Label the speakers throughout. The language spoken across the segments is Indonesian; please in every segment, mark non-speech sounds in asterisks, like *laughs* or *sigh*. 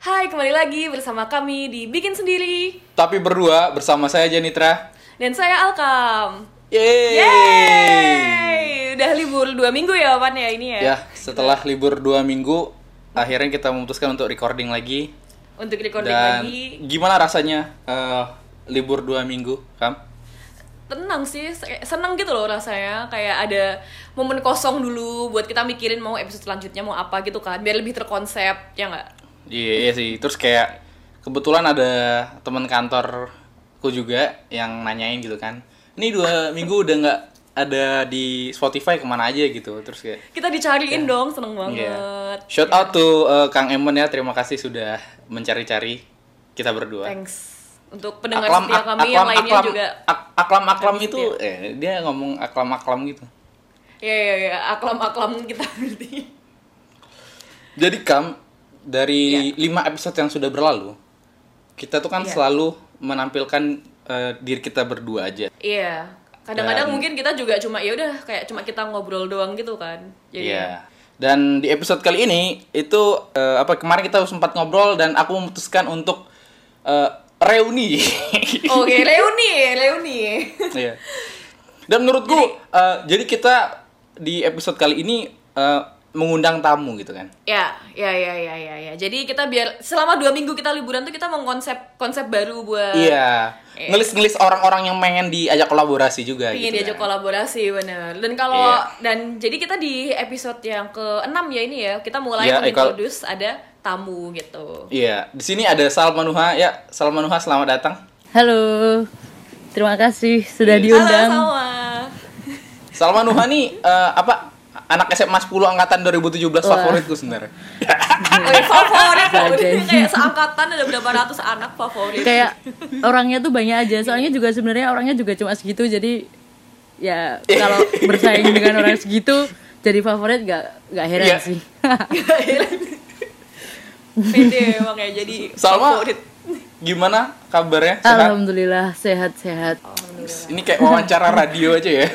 Speaker 1: Hai, kembali lagi bersama kami di Bikin Sendiri
Speaker 2: Tapi berdua bersama saya Janitra.
Speaker 1: dan saya Alkam.
Speaker 2: Yeay!
Speaker 1: Yeay! Udah libur dua minggu ya, Pan ya ini ya.
Speaker 2: Ya, setelah libur dua minggu, akhirnya kita memutuskan untuk recording lagi.
Speaker 1: Untuk recording
Speaker 2: Dan
Speaker 1: lagi.
Speaker 2: gimana rasanya eh, libur dua minggu, Kam?
Speaker 1: Tenang sih, se- seneng gitu loh rasanya kayak ada momen kosong dulu buat kita mikirin mau episode selanjutnya mau apa gitu kan, biar lebih terkonsep ya nggak?
Speaker 2: Iya, iya sih. Terus kayak kebetulan ada teman kantorku juga yang nanyain gitu kan. Ini dua minggu udah nggak ada di Spotify kemana aja gitu. Terus kayak
Speaker 1: Kita dicariin dong, seneng banget.
Speaker 2: Ya. Iya. Shout out to eh, Kang Emon ya, terima kasih sudah mencari-cari kita berdua.
Speaker 1: Thanks untuk pendengar setia kami yang lainnya
Speaker 2: aklam,
Speaker 1: juga.
Speaker 2: ak- aklam aklam
Speaker 1: kami
Speaker 2: itu eh, dia ngomong aklam aklam gitu.
Speaker 1: Ya ya ya, aklam-aklam kita *laughs* berarti.
Speaker 2: Jadi Kam dari lima episode yang sudah berlalu kita tuh kan
Speaker 1: Iya.
Speaker 2: selalu menampilkan eh, diri kita berdua aja.
Speaker 1: Iya. Kadang-kadang
Speaker 2: Dan-
Speaker 1: mungkin kita juga cuma ya udah kayak cuma kita ngobrol doang gitu kan. Jadi *laughs*
Speaker 2: Iya. Dan di episode kali ini itu eh, apa kemarin kita sempat ngobrol dan aku memutuskan untuk eh, reuni. *laughs*
Speaker 1: "Oh, Oke, reuni, reuni.
Speaker 2: Iya. Dan menurutku eh, jadi kita di episode kali ini eh, mengundang tamu gitu kan.
Speaker 1: ya, ya, ya, ya, ya, ya. Jadi kita biar selama dua minggu kita liburan tuh kita mau konsep konsep baru buat
Speaker 2: Iya,
Speaker 1: Eh.
Speaker 2: ngelis-ngelis orang-orang yang pengen diajak kolaborasi juga
Speaker 1: ingin
Speaker 2: gitu.
Speaker 1: diajak
Speaker 2: kan.
Speaker 1: kolaborasi bener. Dan kalau
Speaker 2: Iya.
Speaker 1: dan jadi kita di episode yang ke-6 ya ini ya, kita mulai
Speaker 2: Iya, Eko.
Speaker 1: mengintroduce ada tamu gitu.
Speaker 2: Iya, di sini ada Salmanuha. Ya, Salmanuha selamat datang.
Speaker 3: Halo, terima kasih sudah
Speaker 1: Halo,
Speaker 3: diundang.
Speaker 1: sama.
Speaker 2: Salmanuha nih *laughs* eh, apa anak SMA 10 angkatan 2017
Speaker 3: Wah.
Speaker 2: favoritku sebenarnya.
Speaker 1: Oke, Oh, iya, favorit
Speaker 3: Sajen.
Speaker 1: kayak seangkatan ada berapa ratus anak favorit.
Speaker 3: Kayak orangnya tuh banyak aja, soalnya juga sebenarnya orangnya juga cuma segitu, jadi ya kalau bersaing dengan orang segitu jadi favorit gak gak heran
Speaker 2: Iya.
Speaker 3: sih. *laughs*
Speaker 1: Pede emang ya jadi
Speaker 2: Salma,
Speaker 1: favorit.
Speaker 2: gimana kabarnya? Sehat?
Speaker 3: Alhamdulillah sehat-sehat.
Speaker 2: Ini kayak wawancara radio aja ya.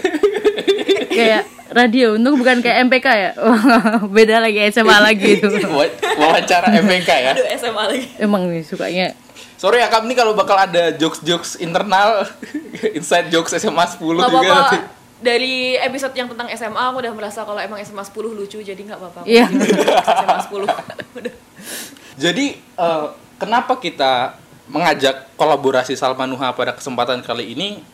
Speaker 3: Kayak radio, untung bukan kayak MPK ya. *laughs* Beda lagi SMA
Speaker 2: *laughs*
Speaker 3: lagi itu.
Speaker 2: wawancara MPK ya.
Speaker 1: Aduh SMA lagi.
Speaker 3: Emang nih sukanya
Speaker 2: Sorry ya Kak, ini kalau bakal ada jokes-jokes internal, *laughs* inside jokes SMA
Speaker 1: Gak
Speaker 2: 10 juga
Speaker 1: apa-apa.
Speaker 2: nanti.
Speaker 1: Dari episode yang tentang SMA aku udah merasa kalau emang SMA 10 lucu jadi nggak apa-apa. Aku
Speaker 3: Iya.
Speaker 1: jadi SMA 10. *laughs* Udah.
Speaker 2: Jadi eh, kenapa kita mengajak kolaborasi Salmanuha pada kesempatan kali ini?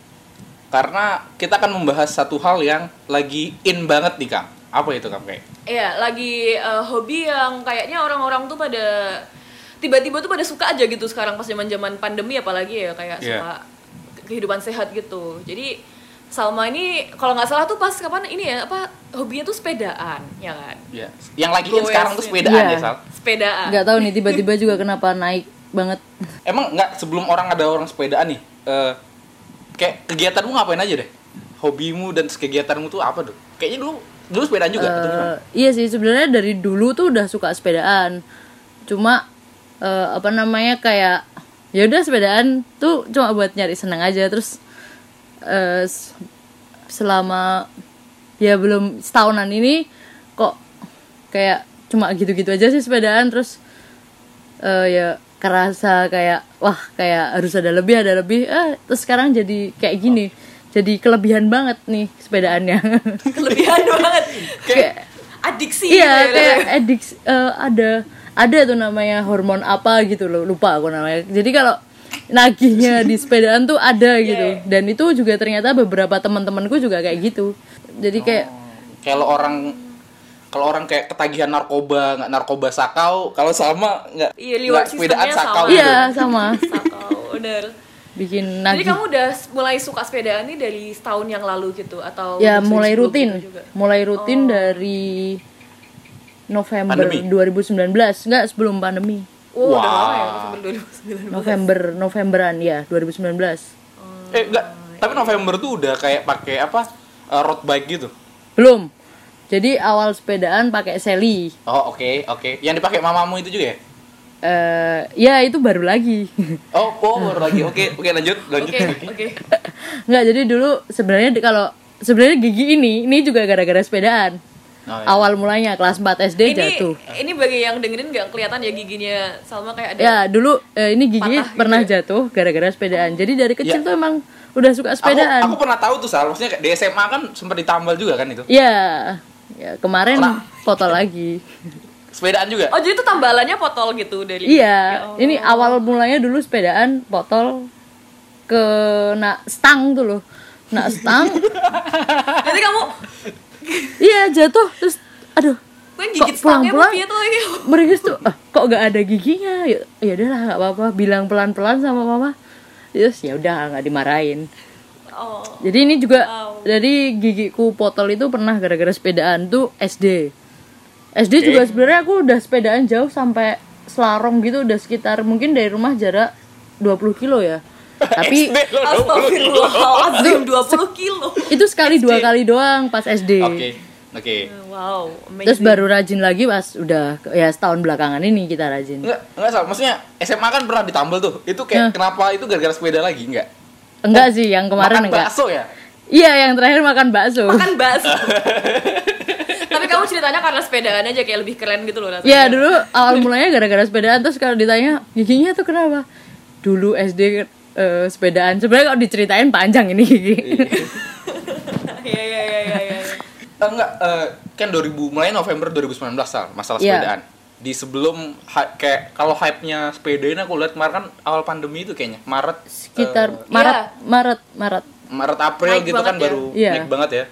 Speaker 2: Karena kita akan membahas satu hal yang lagi in banget nih Kang. Apa itu Kang kayak?
Speaker 1: Iya, lagi eh, hobi yang kayaknya orang-orang tuh pada tiba-tiba tuh pada suka aja gitu sekarang pas zaman-zaman pandemi apalagi ya kayak
Speaker 2: Iya.
Speaker 1: suka kehidupan sehat gitu. Jadi Salma ini kalau nggak salah tuh pas kapan ini ya apa hobinya tuh sepedaan ya kan
Speaker 2: Ya. Yang lagi in
Speaker 1: Goes,
Speaker 2: sekarang tuh
Speaker 1: ya.
Speaker 2: sepedaan ya
Speaker 3: Iya.
Speaker 2: Sal.
Speaker 1: sepedaan
Speaker 3: nggak tahu nih tiba-tiba juga kenapa naik banget.
Speaker 2: Emang nggak sebelum orang ada orang sepedaan nih, eh, kayak kegiatanmu ngapain aja deh? Hobimu dan kegiatanmu tuh apa tuh? Kayaknya dulu dulu sepedaan juga atau gimana?
Speaker 3: Eh, iya sih sebenarnya dari dulu tuh udah suka sepedaan. Cuma eh, apa namanya kayak ya udah sepedaan tuh cuma buat nyari senang aja terus eh, s- selama ya belum setahunan ini kok kayak cuma gitu-gitu aja sih sepedaan terus eh, ya kerasa kayak wah kayak harus ada lebih ada lebih eh terus sekarang jadi kayak
Speaker 2: Oh.
Speaker 3: gini jadi kelebihan banget nih sepedaannya *laughs*
Speaker 1: kelebihan *laughs* banget
Speaker 3: kayak
Speaker 1: adiksi gitu ya,
Speaker 3: iya kayak adik eh, ada ada tuh namanya hormon apa gitu loh lupa aku namanya jadi kalau
Speaker 1: *laughs*
Speaker 3: nagihnya di sepedaan tuh
Speaker 1: Iya,
Speaker 3: ada gitu dan itu juga ternyata beberapa teman-temanku juga kayak gitu jadi kayak
Speaker 2: kalau orang kalau orang kayak ketagihan narkoba nggak narkoba sakau kalau sama nggak
Speaker 1: Iya, reward
Speaker 2: nggak sepedaan
Speaker 1: systemnya
Speaker 2: sakau
Speaker 1: sama.
Speaker 2: gitu.
Speaker 3: iya sama
Speaker 1: Sakau, bener.
Speaker 3: bikin
Speaker 1: Oh. Jadi
Speaker 3: nagih
Speaker 1: kamu udah s- mulai suka sepedaan nih dari setahun yang lalu gitu atau
Speaker 3: ya
Speaker 1: sebelum-
Speaker 3: mulai
Speaker 1: sebelum
Speaker 3: rutin
Speaker 1: itu juga? Oh.
Speaker 3: mulai rutin dari November
Speaker 2: Pandemi.
Speaker 3: 2019 enggak sebelum pandemi
Speaker 1: Wow, udah
Speaker 2: Wah.
Speaker 1: lama ya November 2009.
Speaker 3: November Novemberan ya 2019
Speaker 2: eh nggak tapi November tuh udah kayak pakai apa eh, road bike gitu
Speaker 3: belum jadi awal sepedaan pakai Sally
Speaker 2: oh oke oke yang dipakai mamamu itu juga ya
Speaker 3: eh ya itu baru lagi *laughs* Hmm.
Speaker 2: oh oh baru lagi oke oke lanjut lanjut
Speaker 1: Oke, oke.
Speaker 3: nggak jadi dulu sebenarnya di- kalau sebenarnya gigi ini ini juga gara-gara sepedaan.
Speaker 2: Oh, iya.
Speaker 3: Awal mulanya kelas 4 SD
Speaker 1: ini
Speaker 3: jatuh.
Speaker 1: ini bagi yang dengerin nggak kelihatan ya giginya Salma kayak ada
Speaker 3: Ya dulu eh, ini gigi
Speaker 1: Patah gitu
Speaker 3: pernah
Speaker 1: ya?
Speaker 3: jatuh gara-gara sepedaan. Jadi dari kecil
Speaker 2: Ya.
Speaker 3: tuh emang udah suka
Speaker 2: Aku,
Speaker 3: sepedaan.
Speaker 2: aku pernah tahu tuh Sal, maksudnya kayak di SMA kan sempat ditambal juga kan itu.
Speaker 3: Ya, ya kemarin
Speaker 2: Lah.
Speaker 3: foto lagi.
Speaker 2: Sepedaan juga.
Speaker 1: oh jadi itu tambalannya potol gitu dari Ya
Speaker 3: Iya,
Speaker 1: Allah.
Speaker 3: ini awal mulanya dulu sepedaan botol ke nak stang tuh loh. Nak
Speaker 1: *laughs*
Speaker 3: stang.
Speaker 1: jadi kamu
Speaker 3: iya, jatuh terus aduh,
Speaker 1: kan gigit
Speaker 3: Kok
Speaker 1: stangnya
Speaker 3: pulang-pulang?
Speaker 1: piye tuh ini?
Speaker 3: meringis tuh "Ah, kok nggak ada giginya ya ya udahlah nggak apa-apa bilang pelan-pelan sama mama terus ya udah nggak dimarahin
Speaker 1: oh
Speaker 3: jadi ini juga
Speaker 1: Wow.
Speaker 3: jadi gigiku potol itu pernah gara-gara sepedaan tuh SD SD juga sebenarnya aku udah sepedaan jauh sampai Selarong gitu udah sekitar mungkin dari rumah jarak 20 kilo
Speaker 2: *laughs*
Speaker 3: ya tapi
Speaker 2: SD lo dong, lo-
Speaker 1: Astagfirullahaladzim 20 kilo
Speaker 3: itu sekali dua kali doang pas SD
Speaker 2: Oke, oke.
Speaker 1: Wow
Speaker 3: terus
Speaker 1: amazing
Speaker 3: baru rajin lagi pas udah ya setahun belakangan ini kita rajin
Speaker 2: Enggak, enggak Sal, maksudnya SMA kan pernah ditambal tuh. Itu kayak kenapa itu gara-gara sepeda lagi enggak?
Speaker 3: Enggak sih, yang
Speaker 2: Makan
Speaker 3: kemarin enggak.
Speaker 2: bakso ya?
Speaker 3: Iya, yang terakhir makan bakso.
Speaker 1: Makan bakso Tapi kamu ceritanya karena sepedaan aja kayak lebih keren gitu loh rasanya
Speaker 3: Iya, dulu awal mulanya gara-gara sepedaan terus kalau ditanya giginya tuh kenapa? Dulu SD eh, sepedaan. Sebenarnya kalau diceritain panjang ini gigi.
Speaker 1: Iya iya iya iya iya.
Speaker 2: Eh, enggak, eh, kan 2000 mulai November 2019 Sal, masalah
Speaker 3: Iya.
Speaker 2: sepedaan. Di sebelum hy- kayak kalau hype-nya sepeda ini aku lihat kemarin kan awal pandemi itu kayaknya Maret
Speaker 3: Sekitar
Speaker 2: eh,
Speaker 3: Maret,
Speaker 1: Iya.
Speaker 3: Maret, Maret.
Speaker 2: Maret April
Speaker 1: Naik
Speaker 2: gitu kan
Speaker 1: banget ya.
Speaker 2: baru
Speaker 3: Iya.
Speaker 2: naik banget ya.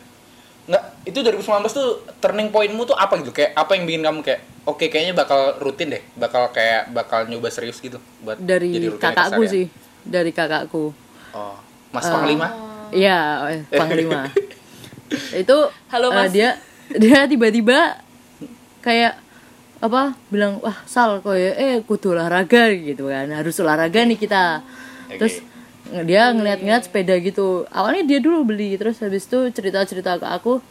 Speaker 2: Nggak, itu 2019 tuh turning pointmu tuh apa gitu? Kayak apa yang bikin kamu kayak oke kayaknya bakal rutin deh, bakal kayak bakal nyoba serius gitu buat
Speaker 3: Dari
Speaker 2: jadi rutinitas
Speaker 3: kakakku
Speaker 2: harian.
Speaker 3: sih, dari kakakku.
Speaker 2: Oh, Mas Panglima.
Speaker 1: Oh.
Speaker 3: Iya, eh,
Speaker 1: *laughs*
Speaker 3: panglima. Itu
Speaker 1: Halo,
Speaker 3: eh,
Speaker 1: Mas.
Speaker 3: dia dia tiba-tiba kayak apa bilang wah sal kok ya eh kudu olahraga gitu kan harus olahraga nih kita
Speaker 2: Oke.
Speaker 3: terus nge- dia ngeliat-ngeliat sepeda gitu awalnya dia dulu beli terus habis itu cerita-cerita ke aku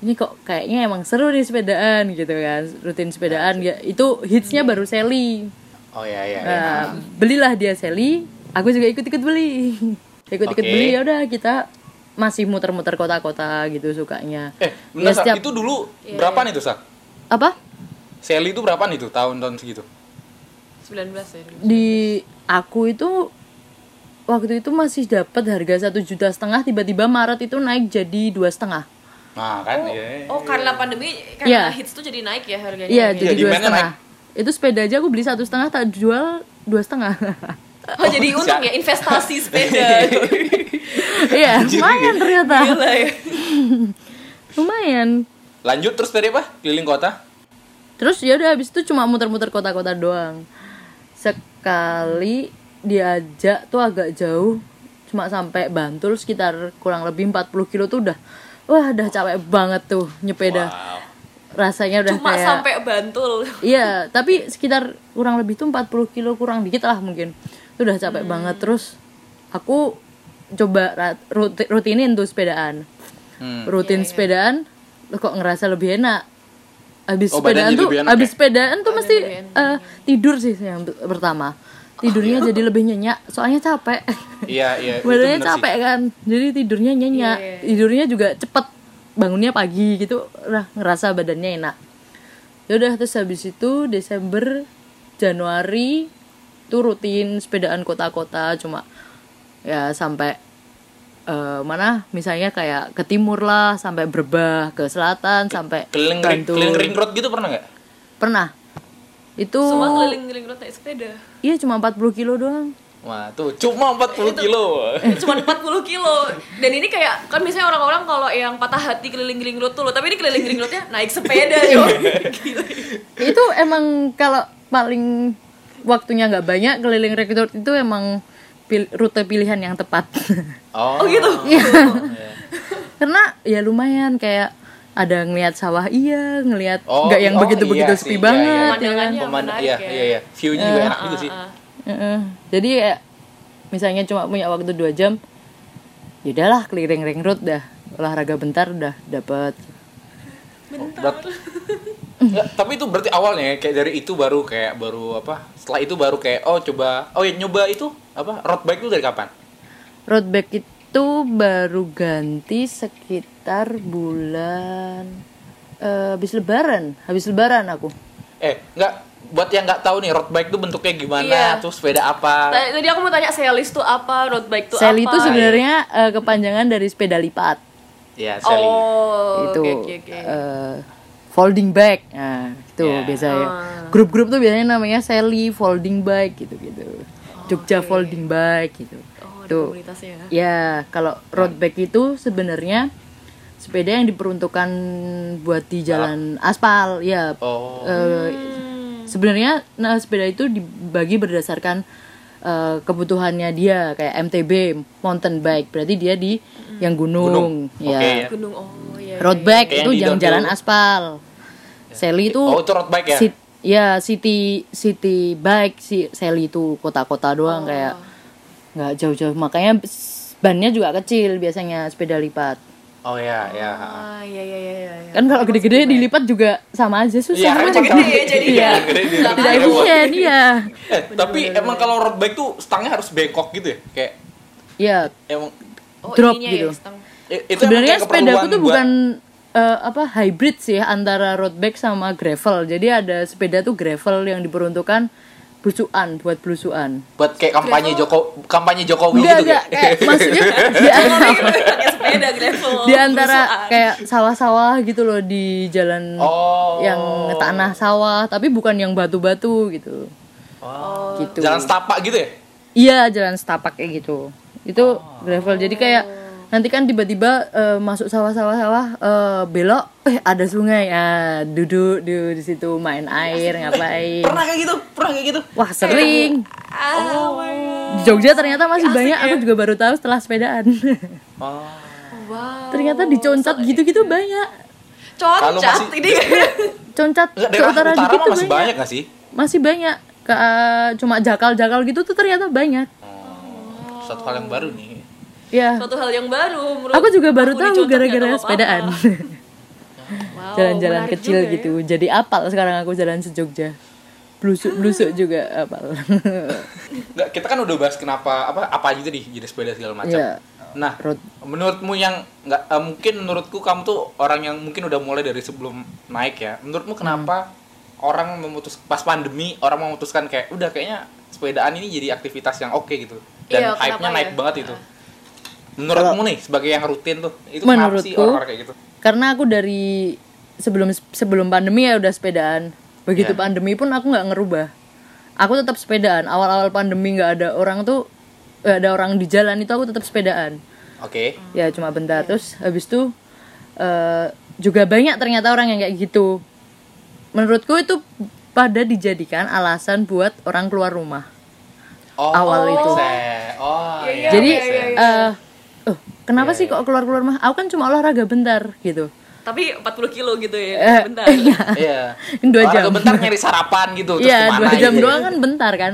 Speaker 3: ini kok kayaknya emang seru nih sepedaan gitu kan rutin sepedaan ya itu hitsnya baru Sally
Speaker 2: Oh iya iya. iya.
Speaker 3: Nah, belilah dia Sally, aku juga ikut-ikut beli. *laughs* ikut-ikut
Speaker 2: Oke.
Speaker 3: beli ya udah kita masih muter-muter kota-kota gitu sukanya.
Speaker 2: Eh, benar
Speaker 3: Ya, setiap-
Speaker 2: itu dulu berapa nih tuh, Sak?
Speaker 3: apa?
Speaker 2: Sally itu berapa nih tuh tahun-tahun segitu?
Speaker 1: 19 ya dulu.
Speaker 3: Di aku itu waktu itu masih dapat harga satu juta setengah tiba-tiba Maret itu naik jadi dua setengah
Speaker 2: Nah, kan iya.
Speaker 1: Oh karena pandemi karena
Speaker 3: Iya.
Speaker 1: hits tuh jadi naik ya harganya
Speaker 3: iya
Speaker 1: jadi
Speaker 3: jadi dua
Speaker 2: demand-nya
Speaker 3: setengah itu sepeda aja aku beli satu setengah tak jual dua setengah *laughs*
Speaker 1: Oh jadi
Speaker 2: Iya.
Speaker 1: untung ya investasi
Speaker 2: *laughs*
Speaker 1: sepeda
Speaker 3: iya lumayan ternyata
Speaker 1: Gila ya
Speaker 3: lumayan
Speaker 2: Lanjut terus tadi apa? Keliling kota?
Speaker 3: Terus ya udah habis itu cuma muter-muter kota-kota doang. Sekali diajak tuh agak jauh, cuma sampai Bantul sekitar kurang lebih 40 kilo tuh udah wah udah capek banget tuh nyepeda.
Speaker 2: Wow.
Speaker 3: Rasanya udah
Speaker 1: Cuma
Speaker 3: kayak
Speaker 1: sampai Bantul
Speaker 3: Iya, tapi sekitar kurang lebih tuh 40 kilo kurang dikit lah mungkin. Itu udah capek
Speaker 2: Hmm.
Speaker 3: banget terus aku coba ra- ruti- rutinin tuh sepedaan.
Speaker 2: Hmm.
Speaker 3: Rutin sepedaan lo kok ngerasa lebih enak. Habis
Speaker 2: Oh,
Speaker 3: sepedaan
Speaker 2: badannya
Speaker 3: tuh
Speaker 2: lebih enak
Speaker 3: habis
Speaker 2: ya?
Speaker 3: sepedaan tuh mesti eh, tidur sih yang be- pertama. Tidurnya jadi lebih nyenyak, soalnya capek.
Speaker 2: *laughs* Iya, iya. itu
Speaker 3: Badannya
Speaker 2: bener sih.
Speaker 3: capek kan. Jadi tidurnya nyenyak.
Speaker 1: Iya.
Speaker 3: Tidurnya juga cepet bangunnya pagi gitu. Lah ngerasa badannya enak. Ya udah terus habis itu Desember Januari tuh rutin sepedaan kota-kota cuma ya sampai eh, mana misalnya kayak ke timur lah sampai Brebah ke selatan sampai
Speaker 2: Keliling ring,
Speaker 3: Bantul.
Speaker 2: keliling ring road gitu pernah nggak?
Speaker 3: pernah itu
Speaker 1: Semua keliling-keliling road naik sepeda
Speaker 3: iya cuma 40 kilo doang
Speaker 2: Wah, tuh cuma 40 kilo.
Speaker 1: cuma 40 kilo dan ini kayak kan biasanya orang-orang kalau yang patah hati keliling-keliling road tuh loh tapi ini keliling-keliling roadnya naik
Speaker 3: *laughs*
Speaker 1: sepeda yo
Speaker 3: Iya.
Speaker 1: Gila.
Speaker 3: itu emang kalau paling waktunya nggak banyak keliling rektor itu emang pil- rute pilihan yang tepat *laughs*
Speaker 2: Oh.
Speaker 1: oh gitu
Speaker 3: Iya. karena ya lumayan kayak ada ngelihat sawah iya ngelihat
Speaker 2: Oh,
Speaker 3: nggak yang
Speaker 2: oh,
Speaker 3: begitu begitu
Speaker 2: iya
Speaker 3: sepi
Speaker 2: sih, iya,
Speaker 3: banget ya kan.
Speaker 1: pemandangannya
Speaker 2: Pemandu,
Speaker 1: menarik
Speaker 2: iya,
Speaker 1: ya
Speaker 2: iya, iya. View-nya juga enak juga sih.
Speaker 3: Heeh. Jadi ya misalnya cuma punya waktu dua jam, ya udahlah keliling ring road dah, olahraga bentar dah dapat.
Speaker 2: Berat- Nggak, tapi itu berarti awalnya ya, kayak dari itu baru kayak baru apa? Setelah itu baru kayak oh coba oh ya nyoba itu apa road bike itu dari kapan?
Speaker 3: Road bike it- itu baru ganti sekitar bulan eh, habis lebaran, habis lebaran aku.
Speaker 2: Eh, nggak buat yang nggak tahu nih road bike tuh bentuknya gimana,
Speaker 1: Iya.
Speaker 2: terus sepeda
Speaker 1: Nah,
Speaker 2: apa.
Speaker 1: Tadi tadi aku mau tanya selis tuh apa, road bike tuh
Speaker 3: Sel
Speaker 1: apa?
Speaker 3: itu sebenarnya eh, kepanjangan dari sepeda lipat.
Speaker 2: Ya, Sally.
Speaker 1: Oh,
Speaker 3: itu
Speaker 1: oke oke oke.
Speaker 3: eh, folding bike. Nah, itu
Speaker 2: Ya.
Speaker 3: biasanya.
Speaker 1: Ah.
Speaker 3: Grup-grup tuh biasanya namanya Sally folding bike gitu-gitu. Jogja folding bike gitu.
Speaker 1: Oh, ada
Speaker 3: Tuh.
Speaker 1: komunitasnya ya.
Speaker 3: Ya, kalau road
Speaker 2: Nah.
Speaker 3: bike itu sebenarnya sepeda yang diperuntukkan buat di jalan aspal, ya.
Speaker 2: Oh.
Speaker 3: Eh, Sebenarnya nah sepeda itu dibagi berdasarkan eh, kebutuhannya dia kayak MTB, mountain bike. Berarti dia di yang gunung,
Speaker 2: Gunung. Oke, ya.
Speaker 1: Gunung oh iya.
Speaker 3: Road
Speaker 1: iya,
Speaker 3: bike
Speaker 2: Kayak
Speaker 3: itu
Speaker 2: yang di
Speaker 3: yang jalan
Speaker 2: Dondolu.
Speaker 3: aspal. Sally itu
Speaker 2: Oh, itu road bike ya?
Speaker 3: sit- ya, city city bike si Sally itu kota-kota doang
Speaker 2: Oh.
Speaker 3: kayak nggak jauh-jauh makanya s- bannya juga kecil biasanya sepeda lipat.
Speaker 2: Oh ya, ya.
Speaker 1: Ah iya iya iya iya. iya.
Speaker 3: Kan kalau gede-gede dilipat juga sama aja
Speaker 2: Iya,
Speaker 3: susah.
Speaker 2: emang
Speaker 1: gede ya, jadi
Speaker 2: Iya,
Speaker 1: ya.
Speaker 2: gede dia.
Speaker 1: Nggak
Speaker 3: Tidak
Speaker 2: Emang.
Speaker 3: efisien iya.
Speaker 2: Eh, tapi emang kalau road bike tuh stangnya harus bengkok gitu ya, kayak
Speaker 3: Ya,
Speaker 2: emang
Speaker 1: Oh,
Speaker 3: drop
Speaker 1: ininya
Speaker 3: gitu.
Speaker 1: Ya, *laughs* stang-
Speaker 2: i- itu emang
Speaker 3: sebenarnya
Speaker 2: kayak
Speaker 3: sepedaku
Speaker 2: keperluan
Speaker 3: tuh
Speaker 2: buat-
Speaker 3: bukan eh, apa hybrid sih antara road bike sama gravel. Jadi ada sepeda tuh gravel yang diperuntukkan belusuan buat belusuan.
Speaker 2: buat kayak kampanye Joko kampanye Jokowi
Speaker 3: Enggak
Speaker 2: gitu
Speaker 3: enggak
Speaker 2: kayak.
Speaker 3: kayak
Speaker 2: *laughs*
Speaker 3: maksudnya di,
Speaker 1: pakai Iya, sepeda gravel.
Speaker 3: di
Speaker 2: Oh,
Speaker 3: antara
Speaker 1: berusukan.
Speaker 3: kayak sawah-sawah gitu loh di jalan
Speaker 2: Oh.
Speaker 3: yang tanah sawah tapi bukan yang batu-batu gitu.
Speaker 2: Oh.
Speaker 3: Gitu.
Speaker 2: Jalan setapak gitu ya?
Speaker 3: Iya, jalan setapak kayak gitu. Itu
Speaker 2: Oh.
Speaker 3: gravel. Jadi kayak nanti kan tiba-tiba eh, masuk sawah-sawah-sawah eh, belok eh ada sungai ah, duduk di, di situ main air ngapain.
Speaker 2: Pernah kayak gitu? Pernah kayak gitu?
Speaker 3: Wah, sering.
Speaker 1: Ah, my God.
Speaker 3: Di Jogja ternyata masih banyak.
Speaker 2: ya.
Speaker 3: Aku juga baru tahu setelah sepedaan. *laughs*
Speaker 2: Oh.
Speaker 1: Wow.
Speaker 3: ternyata diconcat gitu-gitu
Speaker 2: ya.
Speaker 3: banyak.
Speaker 2: Kalau
Speaker 1: Cocok
Speaker 2: masih-
Speaker 1: ini.
Speaker 3: Concat
Speaker 2: Enggak,
Speaker 3: ke
Speaker 2: daerah
Speaker 3: utara
Speaker 2: utara, mah
Speaker 3: dikit tuh
Speaker 2: masih
Speaker 3: banyak.
Speaker 2: banyak gak sih?
Speaker 3: Masih banyak. Ke, eh, cuma jakal-jakal gitu tuh ternyata banyak.
Speaker 2: Oh, Satu hal yang baru nih.
Speaker 3: Ya.
Speaker 1: *laughs* Suatu hal yang baru menurut
Speaker 3: Aku juga baru
Speaker 1: aku
Speaker 3: tahu
Speaker 1: dicontoh nggak
Speaker 3: gara-gara
Speaker 1: tahu apa-apa.
Speaker 3: sepedaan.
Speaker 1: Wow,
Speaker 3: *laughs* jalan-jalan
Speaker 1: menarik
Speaker 3: kecil
Speaker 1: juga ya.
Speaker 3: gitu jadi apal sekarang aku jalan se Jogja blusuk
Speaker 1: Ah.
Speaker 3: blusuk juga apal *laughs*
Speaker 2: Enggak, kita kan udah bahas kenapa apa apa aja tadi jenis sepeda segala macam.
Speaker 3: Iya.
Speaker 2: Nah,
Speaker 3: Road-
Speaker 2: menurutmu yang nggak eh, mungkin menurutku kamu tuh orang yang mungkin udah mulai dari sebelum naik ya. Menurutmu
Speaker 3: Hmm.
Speaker 2: kenapa orang memutus pas pandemi orang memutuskan kayak udah kayaknya sepedaan ini jadi aktivitas yang oke gitu
Speaker 1: Iya,
Speaker 2: dan
Speaker 1: kenapa
Speaker 2: hype-nya
Speaker 1: ya?
Speaker 2: naik banget itu. Menurutmu nih sebagai yang rutin tuh itu kenapa sih
Speaker 3: Menurutku-
Speaker 2: orang-orang kayak gitu?
Speaker 3: karena aku dari sebelum sebelum pandemi ya udah sepedaan begitu
Speaker 2: Iya.
Speaker 3: pandemi pun aku nggak ngerubah aku tetap sepedaan awal-awal pandemi nggak ada orang tuh nggak ada orang di jalan itu aku tetap sepedaan
Speaker 2: Oke.
Speaker 3: ya cuma bentar
Speaker 1: Iya.
Speaker 3: terus habis itu eh, juga banyak ternyata orang yang kayak gitu menurutku itu pada dijadikan alasan buat orang keluar rumah
Speaker 2: Oh,
Speaker 3: Awal itu.
Speaker 2: se- Oh, iya.
Speaker 3: Jadi
Speaker 1: iya, iya,
Speaker 3: eh oh, kenapa sih kok keluar-keluar mah? Aku kan cuma olahraga bentar gitu.
Speaker 1: Tapi 40 kilo gitu ya.
Speaker 3: Eh,
Speaker 1: Bentar.
Speaker 3: Iya.
Speaker 2: Iya.
Speaker 3: Dua
Speaker 2: Orang
Speaker 3: jam.
Speaker 2: kebentar nyari sarapan gitu terus
Speaker 3: Iya,
Speaker 2: kemana
Speaker 3: dua jam
Speaker 2: gitu ya.
Speaker 3: doang kan bentar kan.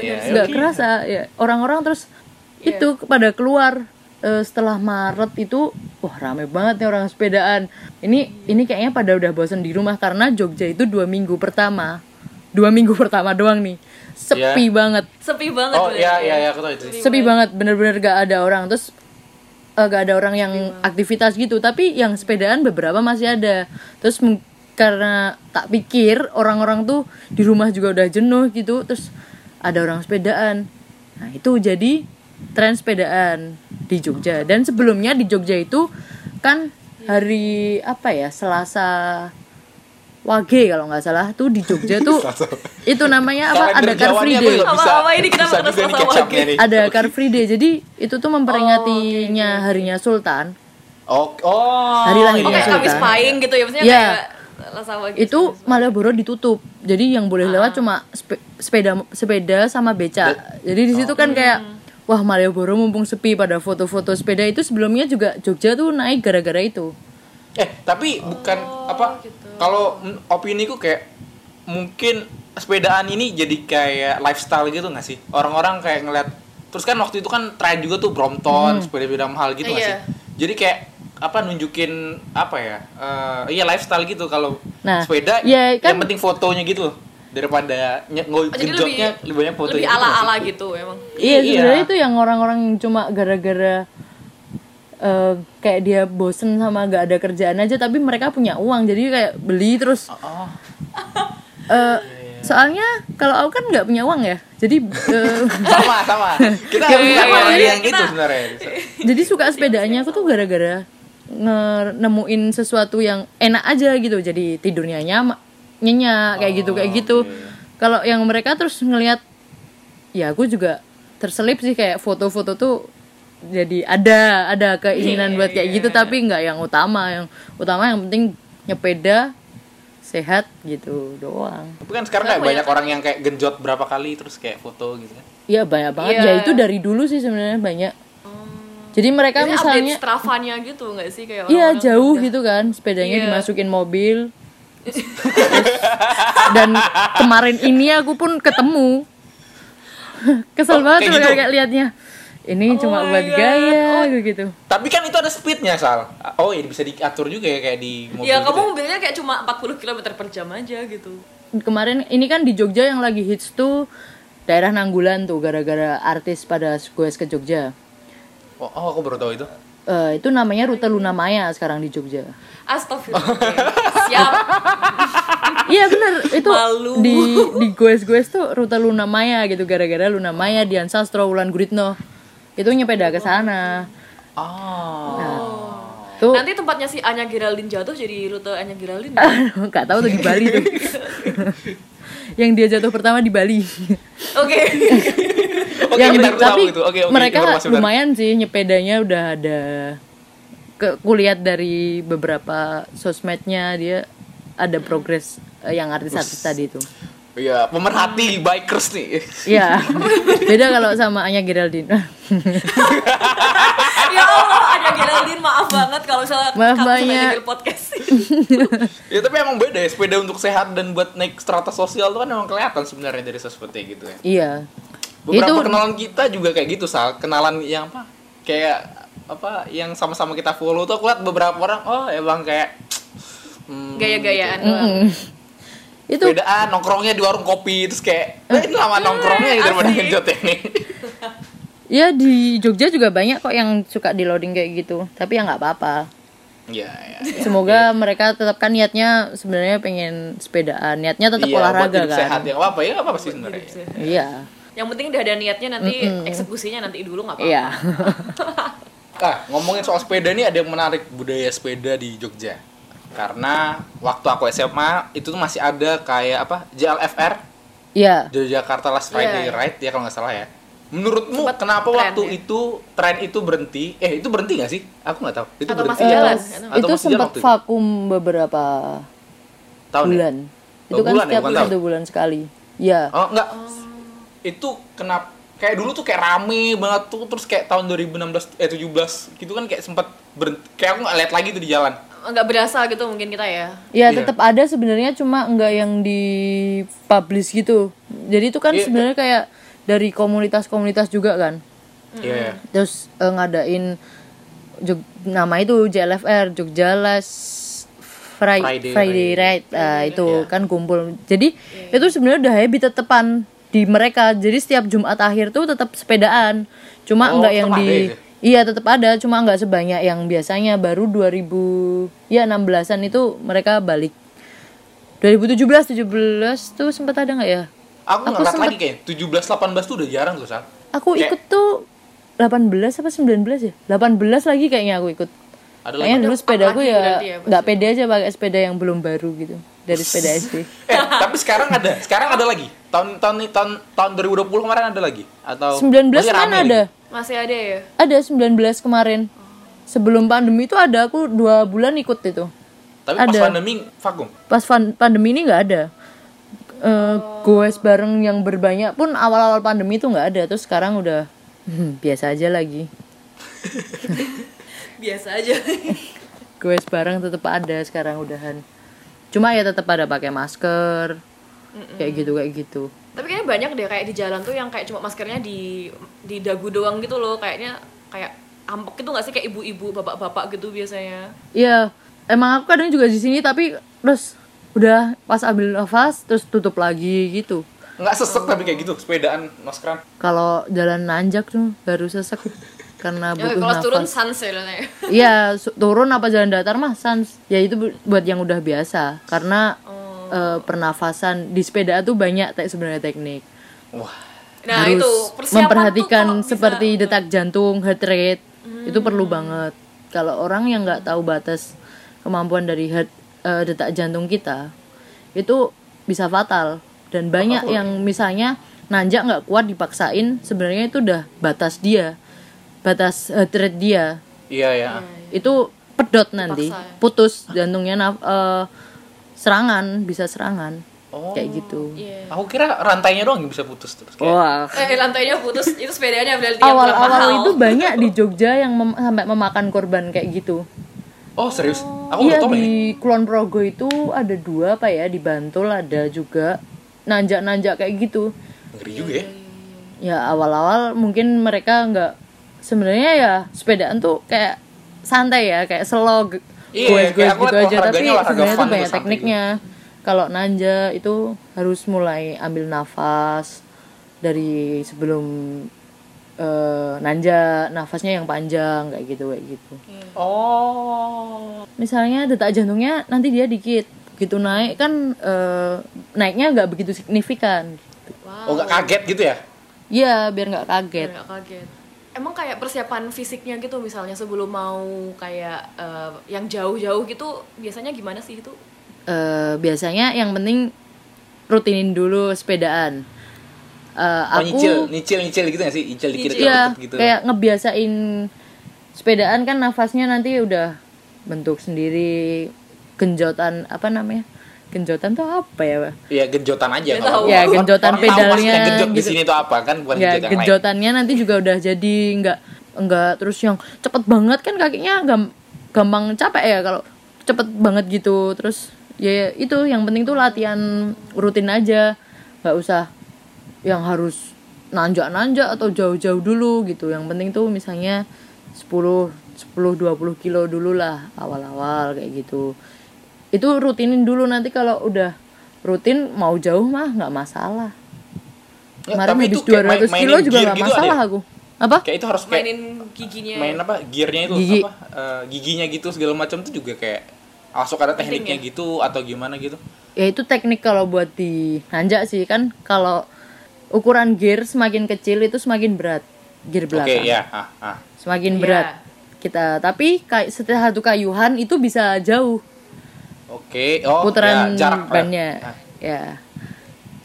Speaker 2: Iya,
Speaker 3: Nggak kerasa ya. Orang-orang terus itu pada keluar eh, setelah Maret itu wah rame banget nih orang sepedaan. Ini ini kayaknya pada udah bosen di rumah karena Jogja itu dua minggu pertama. Dua minggu *laughs* pertama doang nih.
Speaker 2: Iya.
Speaker 3: Sepi banget.
Speaker 1: Sepi banget ya.
Speaker 2: Oh
Speaker 1: bener.
Speaker 2: iya iya iya aku tahu itu.
Speaker 3: sepi banget bener-bener gak ada orang terus eh, gak ada orang yang aktivitas gitu tapi yang sepedaan beberapa masih ada terus mung- karena tak pikir orang-orang tuh di rumah juga udah jenuh gitu terus ada orang sepedaan nah itu jadi tren sepedaan di Jogja dan sebelumnya di Jogja itu kan hari apa ya Selasa Wage kalau nggak salah tuh di Jogja tuh itu namanya apa
Speaker 2: Kalender
Speaker 3: ada car free
Speaker 2: Jawanya gue
Speaker 3: day
Speaker 2: nggak bisa-
Speaker 1: Apa-apa ini kenapa
Speaker 2: bisa
Speaker 1: terus
Speaker 2: juga nih
Speaker 1: sama
Speaker 2: kecapnya
Speaker 1: Wage?
Speaker 2: nih.
Speaker 3: ada Car Free Day. Jadi itu tuh memperingatinya harinya Sultan.
Speaker 2: Oh, oh.
Speaker 3: Hari lahirnya
Speaker 1: Oke,
Speaker 2: iya.
Speaker 3: Sultan.
Speaker 1: habis pahing gitu ya maksudnya
Speaker 3: Iya.
Speaker 1: kayak Lasawa gitu.
Speaker 3: Itu Malioboro ditutup. Jadi yang boleh lewat cuma spe- sepeda sepeda sama beca. Jadi di situ kan kayak wah Malioboro mumpung sepi pada foto-foto sepeda itu sebelumnya juga Jogja tuh naik gara-gara itu.
Speaker 2: Eh, tapi bukan apa kalau mm, opini ku kayak mungkin sepedaan ini jadi kayak lifestyle gitu nggak sih? Orang-orang kayak ngeliat terus kan waktu itu kan tren juga tuh
Speaker 3: Hmm.
Speaker 2: Brompton, sepeda-sepeda mahal gitu nggak
Speaker 1: Iya.
Speaker 2: sih? Jadi kayak apa nunjukin apa ya? eh, iya lifestyle gitu kalau
Speaker 3: Nah,
Speaker 2: sepeda
Speaker 3: iya, kan-
Speaker 2: yang penting fotonya gitu loh. daripada nye- nge-
Speaker 1: jadi
Speaker 2: ngejoknya lebih, banyak
Speaker 1: Lebih
Speaker 2: fotonya Iya, gitu nggak sih?
Speaker 1: ala-ala gitu emang.
Speaker 3: Iya,
Speaker 2: Iya.
Speaker 3: sebenarnya itu yang orang-orang yang cuma gara-gara eh, kayak dia bosen sama gak ada kerjaan aja tapi mereka punya uang jadi kayak beli terus
Speaker 2: Oh,
Speaker 3: eh, soalnya kalau aku kan nggak punya uang ya
Speaker 2: *laughs*
Speaker 3: jadi eh,
Speaker 2: sama
Speaker 3: *laughs*
Speaker 2: sama. Kita
Speaker 1: Iya,
Speaker 2: bukan
Speaker 1: iya,
Speaker 2: orang
Speaker 1: iya,
Speaker 2: yang itu
Speaker 1: kita-
Speaker 2: sebenarnya.
Speaker 3: jadi suka sepedaannya aku tuh gara-gara nge- nemuin sesuatu yang enak aja gitu jadi tidurnya nyama nyenyak kayak gitu kayak
Speaker 1: Oh,
Speaker 3: gitu
Speaker 1: iya.
Speaker 3: kalau yang mereka terus ngelihat ya aku juga terselip sih kayak foto-foto tuh jadi ada ada
Speaker 1: Iya,
Speaker 3: keinginan buat kayak gitu tapi nggak yang utama yang utama yang penting nyepeda sehat gitu doang
Speaker 2: Tapi kan sekarang kayak banyak orang yang kayak genjot berapa kali terus kayak foto gitu kan.
Speaker 3: ya banyak banget
Speaker 1: Iya. Oh.
Speaker 3: ya itu dari dulu sih sebenarnya banyak jadi mereka
Speaker 1: Jadi
Speaker 3: misalnya
Speaker 1: update strafanya gitu nggak sih kayak
Speaker 3: Iya
Speaker 1: orang-orang
Speaker 3: jauh gitu kan, sepedanya
Speaker 1: Iya.
Speaker 3: dimasukin mobil. Terus- dan kemarin ini aku pun ketemu.
Speaker 2: Oh,
Speaker 3: Kesel
Speaker 2: kayak
Speaker 3: banget tuh
Speaker 2: gitu?
Speaker 3: kayak liatnya. Ini cuma
Speaker 1: Oh my
Speaker 3: buat
Speaker 1: God.
Speaker 3: gaya gitu.
Speaker 2: Tapi kan itu ada speednya Sal. Oh iya bisa diatur juga ya kayak di mobil.
Speaker 1: ya
Speaker 2: gitu
Speaker 1: kamu mobilnya kayak cuma 40 km per jam aja gitu
Speaker 3: Kemarin ini kan di Jogja yang lagi hits tuh daerah Nanggulan tuh gara-gara artis pada goes ke Jogja.
Speaker 2: Oh, oh, aku baru tahu itu.
Speaker 3: Eh, itu namanya rute Luna Maya sekarang di Jogja.
Speaker 1: *laughs* Astagfirullah siap
Speaker 3: Iya bener itu
Speaker 1: Malu.
Speaker 3: di di goes goes tuh rute Luna Maya gitu gara-gara Luna Maya Dian Sastro Wulan Guritno itu nyepeda ke sana
Speaker 1: Ah.
Speaker 2: Oh.
Speaker 3: tuh
Speaker 1: nanti tempatnya si Anya Geraldine jatuh jadi rute Anya Geraldine
Speaker 3: aduh, nggak tahu tuh di Bali tuh yang dia jatuh pertama di Bali
Speaker 1: oke
Speaker 2: *laughs*
Speaker 1: *laughs*
Speaker 2: Oke,
Speaker 3: yang
Speaker 2: kita
Speaker 3: di-
Speaker 2: harus
Speaker 3: tapi
Speaker 2: tahu itu. Oke, oke.
Speaker 3: mereka
Speaker 2: informasi benar.
Speaker 3: lumayan sih nyepedanya udah ada ke kulihat dari beberapa sosmednya dia ada progres eh, yang artis-artis tadi itu
Speaker 2: Iya, pemerhati bikers nih. *laughs*
Speaker 3: Iya, beda kalau sama Anya Geraldine. *laughs*
Speaker 1: ya Allah Anya Geraldine maaf banget kalau misalnya
Speaker 3: Maaf
Speaker 1: kamu
Speaker 3: banyak.
Speaker 1: dengerin podcast *laughs*
Speaker 2: ya tapi emang beda ya sepeda untuk sehat dan buat naik strata sosial tuh kan emang kelihatan sebenarnya dari seperti gitu ya.
Speaker 3: Iya.
Speaker 2: Beberapa
Speaker 3: itu
Speaker 2: kenalan kita juga kayak gitu, Sal. Kenalan yang apa? Kayak apa yang sama-sama kita follow tuh aku lihat beberapa orang, oh emang kayak hmm,
Speaker 1: gaya-gayaan doang.
Speaker 3: Mm-mm. itu
Speaker 2: bedaan nongkrongnya di warung kopi terus kayak eh, ini lama nongkrongnya ya daripada
Speaker 1: asik.
Speaker 2: ngejot yang ini *laughs*
Speaker 3: ya di Jogja juga banyak kok yang suka di loading kayak gitu. Tapi ya nggak apa-apa.
Speaker 2: ya, ya.
Speaker 3: Semoga mereka tetapkan niatnya sebenarnya pengen sepedaan. Niatnya tetap
Speaker 2: Iya, buat
Speaker 3: olahraga
Speaker 2: hidup
Speaker 3: kan.
Speaker 2: sehat ya apa apa ya nggak apa-apa sih sebenarnya
Speaker 3: Iya.
Speaker 1: yang penting udah ada niatnya nanti eksekusinya nanti dulu nggak apa-apa
Speaker 3: Iya.
Speaker 2: Ah, ngomongin soal sepeda nih ada yang menarik budaya sepeda di Jogja. Karena waktu aku SMA itu tuh masih ada kayak apa JLFR
Speaker 3: Iya.
Speaker 2: Jakarta Last Friday
Speaker 1: Iya, iya.
Speaker 2: Ride ya kalau nggak salah ya. Menurutmu
Speaker 1: Sempat
Speaker 2: kenapa
Speaker 1: tren,
Speaker 2: waktu
Speaker 1: ya?
Speaker 2: itu tren itu berhenti? Eh itu berhenti nggak sih? Aku nggak tahu. Itu
Speaker 1: Atau
Speaker 2: berhenti
Speaker 1: masih
Speaker 2: nggak
Speaker 1: jalan? Atau
Speaker 2: tahu.
Speaker 3: Eh, itu
Speaker 2: masih jalan
Speaker 3: sempat
Speaker 2: waktu
Speaker 3: vakum beberapa
Speaker 2: Tahun ya?
Speaker 3: bulan.
Speaker 2: Oh,
Speaker 3: Itu kan
Speaker 2: bulan ya,
Speaker 3: setiap
Speaker 2: bukan
Speaker 3: satu bulan sekali. Iya.
Speaker 2: Oh enggak. Itu kenapa kayak dulu tuh kayak rame banget tuh terus kayak tahun 2016 eh 17 gitu kan kayak sempat berhenti kayak aku nggak lihat lagi tuh di jalan.
Speaker 1: nggak berasa gitu mungkin kita ya
Speaker 3: Ya
Speaker 2: Iya.
Speaker 3: tetap ada sebenarnya cuma nggak yang di publish gitu. Jadi itu kan
Speaker 2: Iya.
Speaker 3: sebenarnya kayak dari komunitas-komunitas juga kan.
Speaker 2: Iya. iya.
Speaker 3: Terus eh, ngadain Jog, nama itu JLFR Jogja Last Fri-
Speaker 2: Friday
Speaker 3: Friday,
Speaker 2: Ride.
Speaker 3: Ride. Ah, itu
Speaker 2: Iya.
Speaker 3: kan kumpul. Jadi itu sebenarnya udah habit tetepan di mereka. Jadi setiap Jumat akhir tuh tetap sepedaan. Cuma
Speaker 2: Oh,
Speaker 3: nggak
Speaker 2: tetap
Speaker 3: yang
Speaker 2: ada
Speaker 3: di
Speaker 2: itu?
Speaker 3: Iya tetap ada, cuma nggak sebanyak yang biasanya. Baru 2000 ya 16-an itu mereka balik. 2017 17 tuh sempat ada nggak ya?
Speaker 2: Aku
Speaker 3: Aku
Speaker 2: nggak lihat
Speaker 3: sempet-
Speaker 2: lagi kayak 17 18 tuh udah jarang tuh, Sal.
Speaker 3: Aku
Speaker 2: Kayak-
Speaker 3: ikut tuh 18 apa 19 ya? 18 lagi kayaknya aku ikut.
Speaker 2: Ada
Speaker 3: Kayaknya
Speaker 2: lagi.
Speaker 3: dulu
Speaker 1: Ada
Speaker 3: sepeda aku
Speaker 1: lagi
Speaker 3: ya
Speaker 1: berarti ya, Mas,
Speaker 3: nggak pede aja pakai sepeda yang belum baru gitu dari sepeda SD.
Speaker 2: Eh, tapi sekarang ada. Sekarang ada lagi. Tahun tahun nih- tahun tahun 2020 kemarin ada lagi atau
Speaker 3: 19
Speaker 2: masih
Speaker 3: kan
Speaker 2: Oh, rame
Speaker 3: ada.
Speaker 2: lagi?
Speaker 1: masih ada ya
Speaker 3: Ada 19 kemarin. Sebelum pandemi itu ada aku dua bulan ikut itu.
Speaker 2: Tapi pas
Speaker 3: Ada.
Speaker 2: pandemi vakum.
Speaker 3: Pas fan- pandemi ini nggak ada. Eh goes bareng yang berbanyak pun awal-awal pandemi itu nggak ada. Terus sekarang udah *laughs* hmm, biasa aja lagi.
Speaker 1: biasa aja *laughs*
Speaker 3: Goes bareng tetap ada sekarang udahan. Cuma ya tetap ada pakai masker. Kayak gitu kayak gitu.
Speaker 1: tapi kayaknya banyak deh kayak di jalan tuh yang kayak cuma maskernya di di dagu doang gitu loh kayaknya kayak ampek gitu nggak sih kayak ibu-ibu bapak-bapak gitu biasanya
Speaker 3: Iya, emang aku kadang juga di sini tapi terus udah pas ambil nafas terus tutup lagi gitu.
Speaker 2: Nggak sesek tapi kayak gitu sepedaan maskeran.
Speaker 3: Kalau jalan nanjak tuh baru sesek.
Speaker 1: *laughs*
Speaker 3: karena
Speaker 1: Ya,
Speaker 3: butuh
Speaker 1: kalau
Speaker 3: nafas.
Speaker 1: turun sans ya Lena ya.
Speaker 3: Iya, su- turun apa jalan datar mah sans. Ya itu bu- buat yang udah biasa karena
Speaker 1: Oh.
Speaker 3: eh, pernafasan di sepeda tuh banyak te- sebenarnya teknik.
Speaker 1: Nah
Speaker 3: Harus
Speaker 1: itu persiapan
Speaker 3: memperhatikan
Speaker 1: tuh kalau bisa- Hmm.
Speaker 3: seperti detak jantung, heart rate. Itu perlu banget. Kalau orang yang nggak tahu batas kemampuan dari heart eh, detak jantung kita, itu bisa fatal dan banyak yang misalnya nanjak nggak kuat dipaksain sebenarnya itu udah batas dia batas heart rate dia
Speaker 2: Iya ya.
Speaker 3: Hmm, itu pedot nanti
Speaker 1: Dipaksa ya.
Speaker 3: putus jantungnya naf- eh, serangan bisa serangan
Speaker 2: Oh.
Speaker 3: kayak gitu
Speaker 1: Iya.
Speaker 2: Aku kira rantainya doang yang bisa putus terus. Kayak,
Speaker 3: wah
Speaker 1: Eh lantainya putus itu sepedanya berarti yang kurang mahal. Iya,
Speaker 3: awal-awal itu banyak di Jogja yang mem- sampai memakan korban kayak gitu
Speaker 2: oh serius? Aku
Speaker 3: iya
Speaker 2: udah tahu ini.
Speaker 3: di Kulon Progo itu ada dua apa ya di Bantul ada juga nanjak-nanjak kayak gitu
Speaker 2: Ngeri juga ya.
Speaker 3: ya awal-awal mungkin mereka nggak sebenarnya ya sepedaan tuh kayak santai ya kayak slog
Speaker 2: Iya,
Speaker 3: gue gue
Speaker 2: kayak aku
Speaker 3: gitu
Speaker 2: liat
Speaker 3: aja tapi
Speaker 2: olahraganya olahraga
Speaker 3: sebenarnya
Speaker 2: fun
Speaker 3: tuh
Speaker 2: tuh,
Speaker 3: banyak
Speaker 2: santai
Speaker 3: tekniknya kalau nanja itu harus mulai ambil nafas dari sebelum eh, nanja nafasnya yang panjang kayak gitu kayak gitu
Speaker 2: Oh.
Speaker 3: misalnya detak jantungnya nanti dia dikit gitu naik kan eh, naiknya nggak begitu signifikan
Speaker 1: Wow.
Speaker 2: Oh nggak kaget gitu ya?
Speaker 3: Iya biar nggak kaget
Speaker 1: Nggak kaget. Emang kayak persiapan fisiknya gitu misalnya sebelum mau kayak eh, yang jauh-jauh gitu biasanya gimana sih itu?
Speaker 3: eh biasanya yang penting rutinin dulu sepedaan. Eh,
Speaker 2: Oh,
Speaker 3: aku
Speaker 2: nyicil, nyicil, nyicil gitu nggak sih? Nyicil dikit dikit
Speaker 3: iya,
Speaker 2: gitu.
Speaker 3: kayak ngebiasain sepedaan kan nafasnya nanti udah bentuk sendiri genjotan apa namanya? Genjotan tuh apa ya? Pak?
Speaker 2: Iya genjotan aja.
Speaker 1: Nggak
Speaker 2: kalau
Speaker 1: tahu.
Speaker 2: orang-
Speaker 1: Ya,
Speaker 3: Iya, genjotan
Speaker 2: orang tahu maksudnya
Speaker 3: pedalnya
Speaker 2: Genjot di
Speaker 3: gitu.
Speaker 2: sini itu apa kan? Bukan
Speaker 3: Ya,
Speaker 2: genjot yang lain.
Speaker 3: genjotannya nanti juga udah jadi nggak nggak terus yang cepet banget kan kakinya gam- gampang capek ya kalau cepet banget gitu terus ya itu yang penting tuh latihan rutin aja nggak usah yang harus nanjak-nanjak atau jauh-jauh dulu gitu yang penting tuh misalnya 10 10 20 kilo dulu lah awal-awal kayak gitu itu rutinin dulu nanti kalau udah rutin mau jauh mah nggak masalah
Speaker 2: Ya,
Speaker 3: Kemarin
Speaker 2: tapi
Speaker 3: habis
Speaker 2: itu kayak
Speaker 3: 200
Speaker 2: main- mainin
Speaker 3: kilo juga
Speaker 2: gear
Speaker 3: gak
Speaker 2: gitu ada
Speaker 3: masalah
Speaker 2: ya?
Speaker 3: aku. Apa?
Speaker 2: Kayak itu harus kayak
Speaker 1: Mainin giginya.
Speaker 2: main apa gearnya itu
Speaker 3: Gigi.
Speaker 2: apa eh, giginya gitu segala macam tuh juga kayak langsung ada tekniknya gitu atau gimana gitu
Speaker 3: Ya itu teknik kalau buat di nanjak sih kan kalau ukuran gear semakin kecil itu semakin berat gear
Speaker 2: oke
Speaker 3: belakang.
Speaker 2: ya ah, ah.
Speaker 3: Semakin
Speaker 1: Iya.
Speaker 3: berat kita tapi kayak setelah satu kayuhan itu bisa jauh
Speaker 2: oke oh
Speaker 3: putaran
Speaker 2: ya, jarak
Speaker 3: bannya.
Speaker 2: Ah.
Speaker 3: Ya.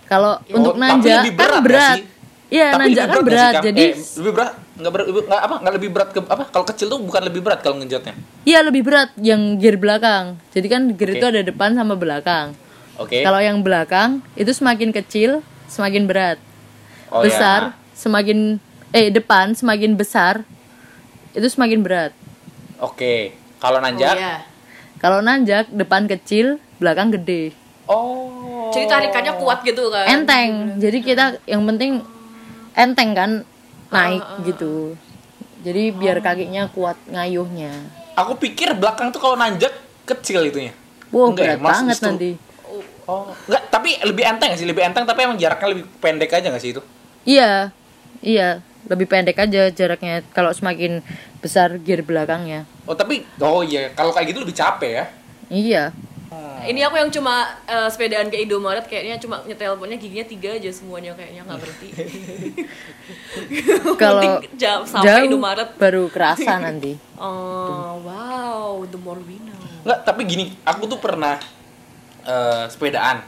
Speaker 3: Kalau
Speaker 2: Oh,
Speaker 3: untuk
Speaker 2: tapi
Speaker 3: nanjak
Speaker 2: lebih
Speaker 3: kan
Speaker 2: berat gak
Speaker 3: berat.
Speaker 2: sih?
Speaker 3: Iya,
Speaker 2: Tapi lebih
Speaker 3: nanjak kan
Speaker 2: nggak sih,
Speaker 3: berat.
Speaker 2: Kang?
Speaker 3: Jadi
Speaker 2: Eh, lebih berat nggak berat lebih- nggak apa nggak lebih berat ke apa kalau kecil tuh bukan lebih berat kalau ngejatnya
Speaker 3: iya lebih berat yang gear belakang. Jadi kan gear
Speaker 2: Oke.
Speaker 3: itu ada depan sama belakang.
Speaker 2: oke
Speaker 3: Kalau yang belakang itu semakin kecil, semakin berat.
Speaker 2: Oh, ya.
Speaker 3: besar, semakin eh depan semakin besar, itu semakin berat.
Speaker 2: oke kalau nanjak
Speaker 1: Oh, iya.
Speaker 3: Kalau nanjak depan kecil, belakang gede.
Speaker 2: oh
Speaker 1: Jadi tarikannya kuat gitu kan.
Speaker 2: iya,
Speaker 3: Enteng. Jadi kita yang penting enteng kan naik
Speaker 2: Oh,
Speaker 3: gitu. Jadi biar kakinya kuat ngayuhnya.
Speaker 2: aku pikir belakang tuh kalau nanjak kecil itunya
Speaker 3: Wow,
Speaker 2: Enggak ya,
Speaker 3: berat
Speaker 2: Mas,
Speaker 3: banget
Speaker 2: justru-
Speaker 3: nanti.
Speaker 2: oh nggak tapi lebih enteng sih lebih enteng tapi emang jaraknya lebih pendek aja nggak sih itu
Speaker 3: Iya. Iya, lebih pendek aja jaraknya kalau semakin besar gear belakangnya.
Speaker 2: Oh tapi oh iya kalau kayak gitu lebih capek ya.
Speaker 3: Iya.
Speaker 1: Ini aku yang cuma eh, sepedaan ke Indomaret kayaknya cuma nyetel ponnya giginya tiga aja semuanya kayaknya nggak berhenti.
Speaker 3: *laughs* Kalau
Speaker 1: Penting jauh sampai Indomaret.
Speaker 3: baru kerasa
Speaker 1: *laughs*
Speaker 3: nanti.
Speaker 1: Oh, wow, the more we know.
Speaker 2: Nggak tapi gini aku tuh pernah eh, sepedaan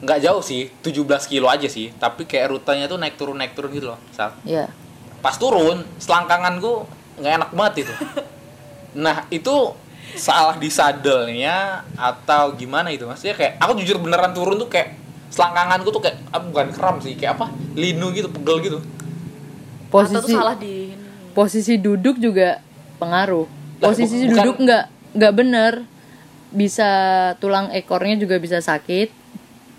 Speaker 2: nggak jauh sih 17 kilo aja sih tapi kayak rutenya tuh naik turun naik turun gitu loh. Sal.
Speaker 3: Iya.
Speaker 2: Pas turun selangkanganku nggak enak banget itu. Nah itu salah di sadelnya atau gimana itu maksudnya kayak aku jujur beneran turun tuh kayak selangkanganku tuh kayak ah, bukan kram sih kayak apa linu gitu pegel gitu
Speaker 1: Atau tuh
Speaker 3: Posisi
Speaker 1: salah di
Speaker 3: posisi duduk juga pengaruh.
Speaker 2: Lah,
Speaker 3: Posisi
Speaker 2: bu- bukan-
Speaker 3: duduk nggak nggak bener bisa tulang ekornya juga bisa sakit.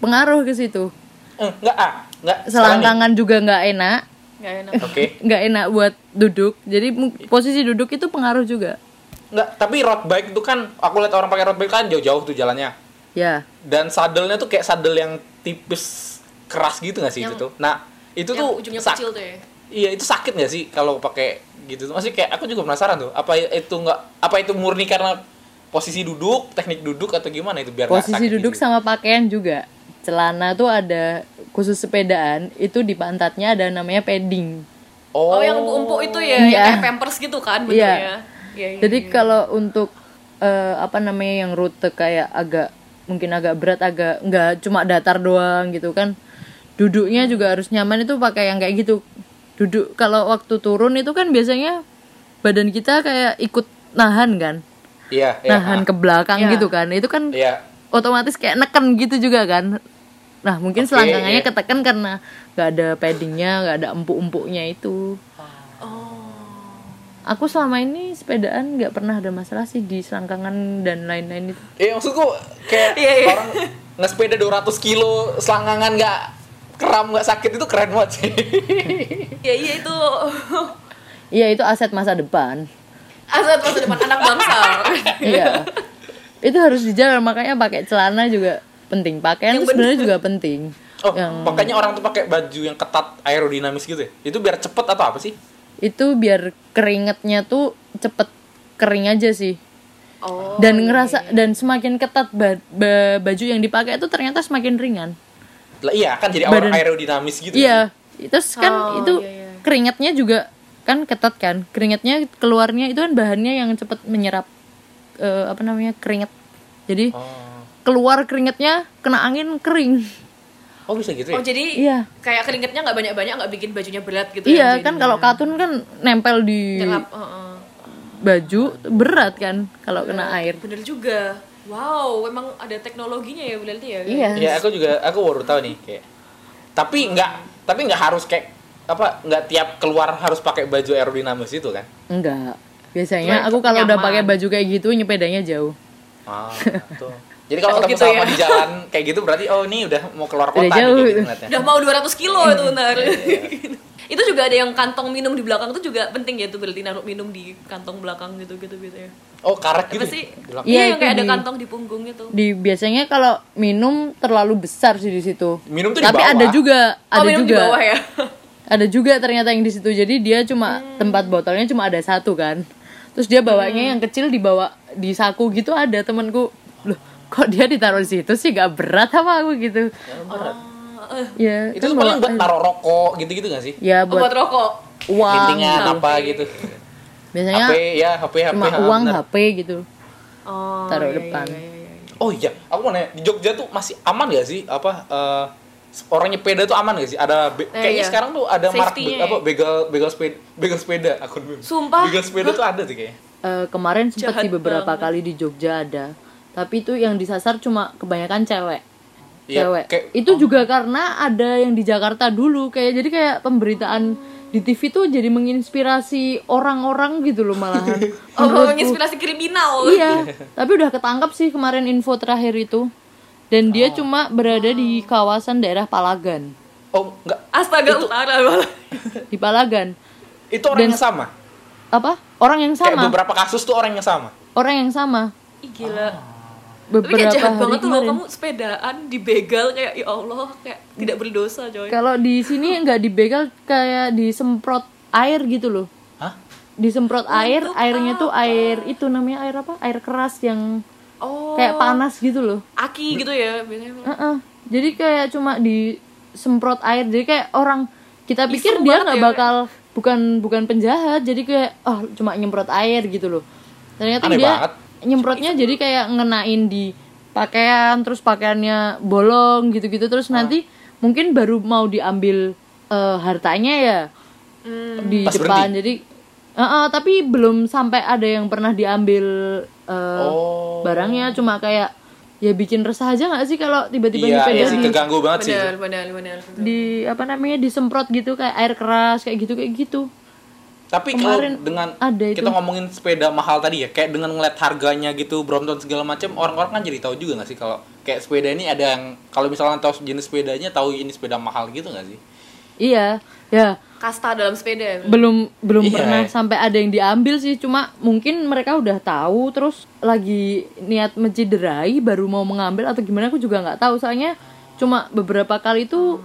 Speaker 3: Pengaruh ke situ.
Speaker 2: Eh, nggak ah nggak salah nih.
Speaker 3: Selangkangan juga nggak enak,
Speaker 1: nggak enak.
Speaker 2: oke
Speaker 3: nggak enak buat duduk. Jadi mu- posisi duduk itu pengaruh juga.
Speaker 2: Nggak, tapi road bike itu kan aku lihat orang pakai road bike kan jauh-jauh tuh jalannya.
Speaker 3: Ya.
Speaker 2: Dan sadelnya tuh kayak sadel yang tipis keras gitu nggak sih itu tuh? Nah, itu
Speaker 1: Yang
Speaker 2: tuh
Speaker 1: ujungnya
Speaker 2: sak-
Speaker 1: kecil tuh ya.
Speaker 2: Iya, itu sakit nggak sih kalau pakai gitu masih kayak aku juga penasaran tuh apa itu nggak apa itu murni karena posisi duduk teknik duduk atau gimana itu biar nggak
Speaker 3: posisi
Speaker 2: sakit
Speaker 3: duduk
Speaker 2: gitu?
Speaker 3: sama pakaian juga celana tuh ada khusus sepedaan itu di pantatnya ada namanya padding
Speaker 1: Oh, yang empuk-empuk itu ya,
Speaker 3: Iya.
Speaker 1: yang kayak pampers gitu kan bentuknya. Iya, iya,
Speaker 3: jadi
Speaker 1: iya.
Speaker 3: kalau untuk eh, apa namanya yang rute kayak agak mungkin agak berat agak nggak cuma datar doang gitu kan duduknya juga harus nyaman itu pakai yang kayak gitu duduk kalau waktu turun itu kan biasanya badan kita kayak ikut nahan kan
Speaker 2: iya iya
Speaker 3: nahan ke belakang gitu kan itu kan
Speaker 2: ah, iya
Speaker 3: otomatis kayak neken gitu juga kan nah
Speaker 2: Oke,
Speaker 3: mungkin selangkangannya
Speaker 2: iya.
Speaker 3: ketekan karena nggak ada paddingnya nggak ada empuk-empuknya itu
Speaker 1: Oh.
Speaker 3: aku selama ini sepedaan nggak pernah ada masalah sih di selangkangan dan lain-lain itu
Speaker 2: Eh maksudku kayak
Speaker 1: Iya, iya.
Speaker 2: orang ngesepeda 200 kilo selangkangan nggak kram nggak sakit itu keren banget sih.
Speaker 1: Ya iya itu *laughs*
Speaker 3: iya itu aset masa depan
Speaker 1: aset masa depan anak
Speaker 3: *laughs*
Speaker 1: bangsa. *laughs*
Speaker 3: iya itu harus dijalan makanya pakai celana juga penting
Speaker 1: Yang
Speaker 3: pakaian itu sebenarnya juga penting
Speaker 2: Oh,
Speaker 3: Yang-
Speaker 2: makanya orang tuh pakai baju yang ketat aerodinamis gitu ya. Itu biar cepet atau apa sih?
Speaker 3: itu biar keringetnya tuh cepet kering aja sih
Speaker 1: Oh.
Speaker 3: dan ngerasa dan semakin ketat ba- ba- baju yang dipakai itu ternyata semakin ringan.
Speaker 2: Lah iya kan jadi orang
Speaker 3: Badan-
Speaker 2: aerodinamis gitu. ya.
Speaker 3: Iya, terus kan
Speaker 1: Oh,
Speaker 3: itu
Speaker 1: iya, iya.
Speaker 3: keringatnya juga kan ketat kan. Keringatnya keluarnya itu kan bahannya yang cepat menyerap eh, apa namanya keringat. Jadi
Speaker 2: Oh.
Speaker 3: keluar keringatnya kena angin kering.
Speaker 2: Oh bisa gitu ya?
Speaker 1: Oh jadi
Speaker 3: Iya.
Speaker 1: kayak keringetnya nggak banyak-banyak nggak bikin bajunya berat gitu
Speaker 3: iya
Speaker 1: ya, jadinya.
Speaker 3: kan kalau katun kan nempel di
Speaker 1: Nyelap, heeh.
Speaker 3: baju berat kan kalau kena air.
Speaker 1: Bener juga. Wow, memang ada teknologinya ya berarti ya.
Speaker 3: Iya.
Speaker 2: Iya aku juga aku baru tahu nih kayak. Tapi nggak tapi nggak harus kayak apa nggak tiap keluar harus pakai baju aerodinamis itu kan?
Speaker 3: Enggak. Biasanya
Speaker 1: Cuma
Speaker 3: aku kalau udah
Speaker 1: nyaman.
Speaker 3: pakai baju kayak gitu nyepedanya jauh.
Speaker 2: Ah, tuh. Jadi
Speaker 1: Oh,
Speaker 2: kalau ketemu
Speaker 1: gitu
Speaker 2: sama
Speaker 1: ya.
Speaker 2: di jalan kayak gitu berarti oh ini udah mau keluar kota nih,
Speaker 3: Udah
Speaker 2: kayak
Speaker 3: jauh.
Speaker 2: gitu ngeliatnya.
Speaker 1: Udah mau 200 kilo itu
Speaker 3: Iya.
Speaker 1: ntar. *laughs* itu juga ada yang kantong minum di belakang itu juga penting ya itu berarti naruh minum di kantong belakang gitu gitu biasanya.
Speaker 2: Oh, karet
Speaker 1: Apa
Speaker 2: gitu. ya?
Speaker 1: sih?
Speaker 2: Bilang,
Speaker 3: Iya,
Speaker 1: Iya, yang
Speaker 3: itu
Speaker 1: kayak ada
Speaker 3: di-
Speaker 1: kantong di punggung gitu.
Speaker 3: di biasanya kalau minum terlalu besar sih di situ.
Speaker 2: Minum tuh di
Speaker 3: Tapi
Speaker 2: bawah.
Speaker 3: ada juga,
Speaker 1: oh,
Speaker 3: ada
Speaker 1: minum
Speaker 3: juga.
Speaker 1: di bawah
Speaker 3: *laughs*
Speaker 1: ya.
Speaker 3: Ada juga ternyata yang di situ. Jadi dia cuma
Speaker 2: Hmm.
Speaker 3: tempat botolnya cuma ada satu kan. Terus dia bawanya yang kecil dibawa di saku gitu ada temanku. Loh, kok dia ditaruh di situ sih gak berat apa aku gitu.
Speaker 1: Ah, eh,
Speaker 3: Ya,
Speaker 2: Itu
Speaker 3: kan
Speaker 2: tuh paling
Speaker 3: bawa-
Speaker 2: buat taruh rokok gitu-gitu gak sih?
Speaker 3: ya
Speaker 1: buat,
Speaker 3: buat
Speaker 1: rokok.
Speaker 3: uang.
Speaker 2: Lintingan
Speaker 1: Uang.
Speaker 2: apa gitu.
Speaker 3: Biasanya
Speaker 2: HP ya, HP HP.
Speaker 3: cuma
Speaker 2: ha,
Speaker 3: uang
Speaker 2: bener.
Speaker 3: HP gitu.
Speaker 1: Oh,
Speaker 3: Taruh
Speaker 1: iya,
Speaker 3: depan.
Speaker 1: iya, iya, iya.
Speaker 2: Oh iya, aku mau nanya, di Jogja tuh masih aman gak sih apa eh, orang nyepeda tuh aman gak sih? Ada
Speaker 1: Eh,
Speaker 2: be- kayaknya
Speaker 1: iya.
Speaker 2: sekarang tuh ada mark
Speaker 1: Safety-nya
Speaker 2: apa
Speaker 1: ya.
Speaker 2: begal begal sepeda begal sepeda akun meme.
Speaker 1: Sumpah?
Speaker 2: Begal sepeda tuh ada tuh kayaknya.
Speaker 3: Eh, kemarin sempet
Speaker 1: Jahat
Speaker 3: sih beberapa kali di Jogja ada. Tapi itu yang disasar cuma kebanyakan cewek.
Speaker 2: Iya,
Speaker 3: cewek.
Speaker 2: kayak-
Speaker 3: itu juga karena ada yang di Jakarta dulu kayak jadi kayak pemberitaan di TV tuh jadi menginspirasi orang-orang gitu loh malahan.
Speaker 2: *laughs*
Speaker 1: Oh,
Speaker 3: Menurutku.
Speaker 1: menginspirasi kriminal.
Speaker 3: Iya, tapi udah ketangkap sih kemarin info terakhir itu. Dan dia cuma berada di kawasan daerah Palagan.
Speaker 2: Oh, enggak.
Speaker 1: Astaga utara malah.
Speaker 3: Di Palagan.
Speaker 2: Itu orang yang sama.
Speaker 3: Apa? Orang yang
Speaker 2: Kayak
Speaker 3: sama.
Speaker 2: beberapa kasus tuh orang yang sama.
Speaker 3: Orang yang sama.
Speaker 1: Ih gila. Tapi
Speaker 3: Beberapa
Speaker 1: kayak jahat
Speaker 3: hari
Speaker 1: banget tuh loh
Speaker 3: kemarin. Hmm.
Speaker 1: kamu sepedaan dibegal kayak ya Allah kayak tidak berdosa coy.
Speaker 3: Kalau di sini nggak dibegal kayak disemprot air gitu loh.
Speaker 2: Hah?
Speaker 3: Disemprot air, airnya tuh air itu namanya air apa? Air keras yang
Speaker 1: Oh,
Speaker 3: kayak panas gitu loh.
Speaker 1: aki gitu ya biasanya.
Speaker 3: Heeh. Jadi kayak cuma disemprot air. Jadi kayak orang kita pikir
Speaker 1: Iseng
Speaker 3: dia
Speaker 1: banget
Speaker 3: nggak
Speaker 1: ya,
Speaker 3: bakal bukan bukan penjahat. Jadi kayak oh cuma nyemprot air gitu loh. Ternyata
Speaker 2: Aneh
Speaker 3: dia
Speaker 2: banget.
Speaker 3: nyemprotnya jadi kayak ngenain di pakaian terus pakaiannya bolong gitu-gitu terus
Speaker 1: Ah.
Speaker 3: nanti mungkin baru mau diambil eh, hartanya ya
Speaker 1: Hmm.
Speaker 3: di
Speaker 2: Pas
Speaker 3: depan jadi Heeh, tapi belum sampai ada yang pernah diambil eh,
Speaker 2: Oh.
Speaker 3: barangnya cuma kayak ya bikin resah aja nggak sih kalau tiba-tiba
Speaker 2: Iya,
Speaker 3: nyepeda
Speaker 2: iya sih
Speaker 3: di,
Speaker 2: keganggu banget sih. itu.
Speaker 1: Benar, benar, benar.
Speaker 3: di apa namanya disemprot gitu kayak air keras kayak gitu kayak gitu
Speaker 2: Tapi kalau
Speaker 3: Kemarin
Speaker 2: dengan
Speaker 3: ada itu.
Speaker 2: kita ngomongin sepeda mahal tadi ya, kayak dengan ngeliat harganya gitu, Brompton segala macam, orang-orang kan jadi tahu juga nggak sih kalau kayak sepeda ini ada yang kalau misalnya tahu jenis sepedanya, tahu ini sepeda mahal gitu nggak sih?
Speaker 3: iya ya
Speaker 1: Kasta dalam sepeda.
Speaker 3: belum belum
Speaker 2: Iya.
Speaker 3: pernah sampai ada yang diambil sih cuma mungkin mereka udah tahu terus lagi niat menciderai baru mau mengambil atau gimana aku juga nggak tahu soalnya cuma beberapa kali itu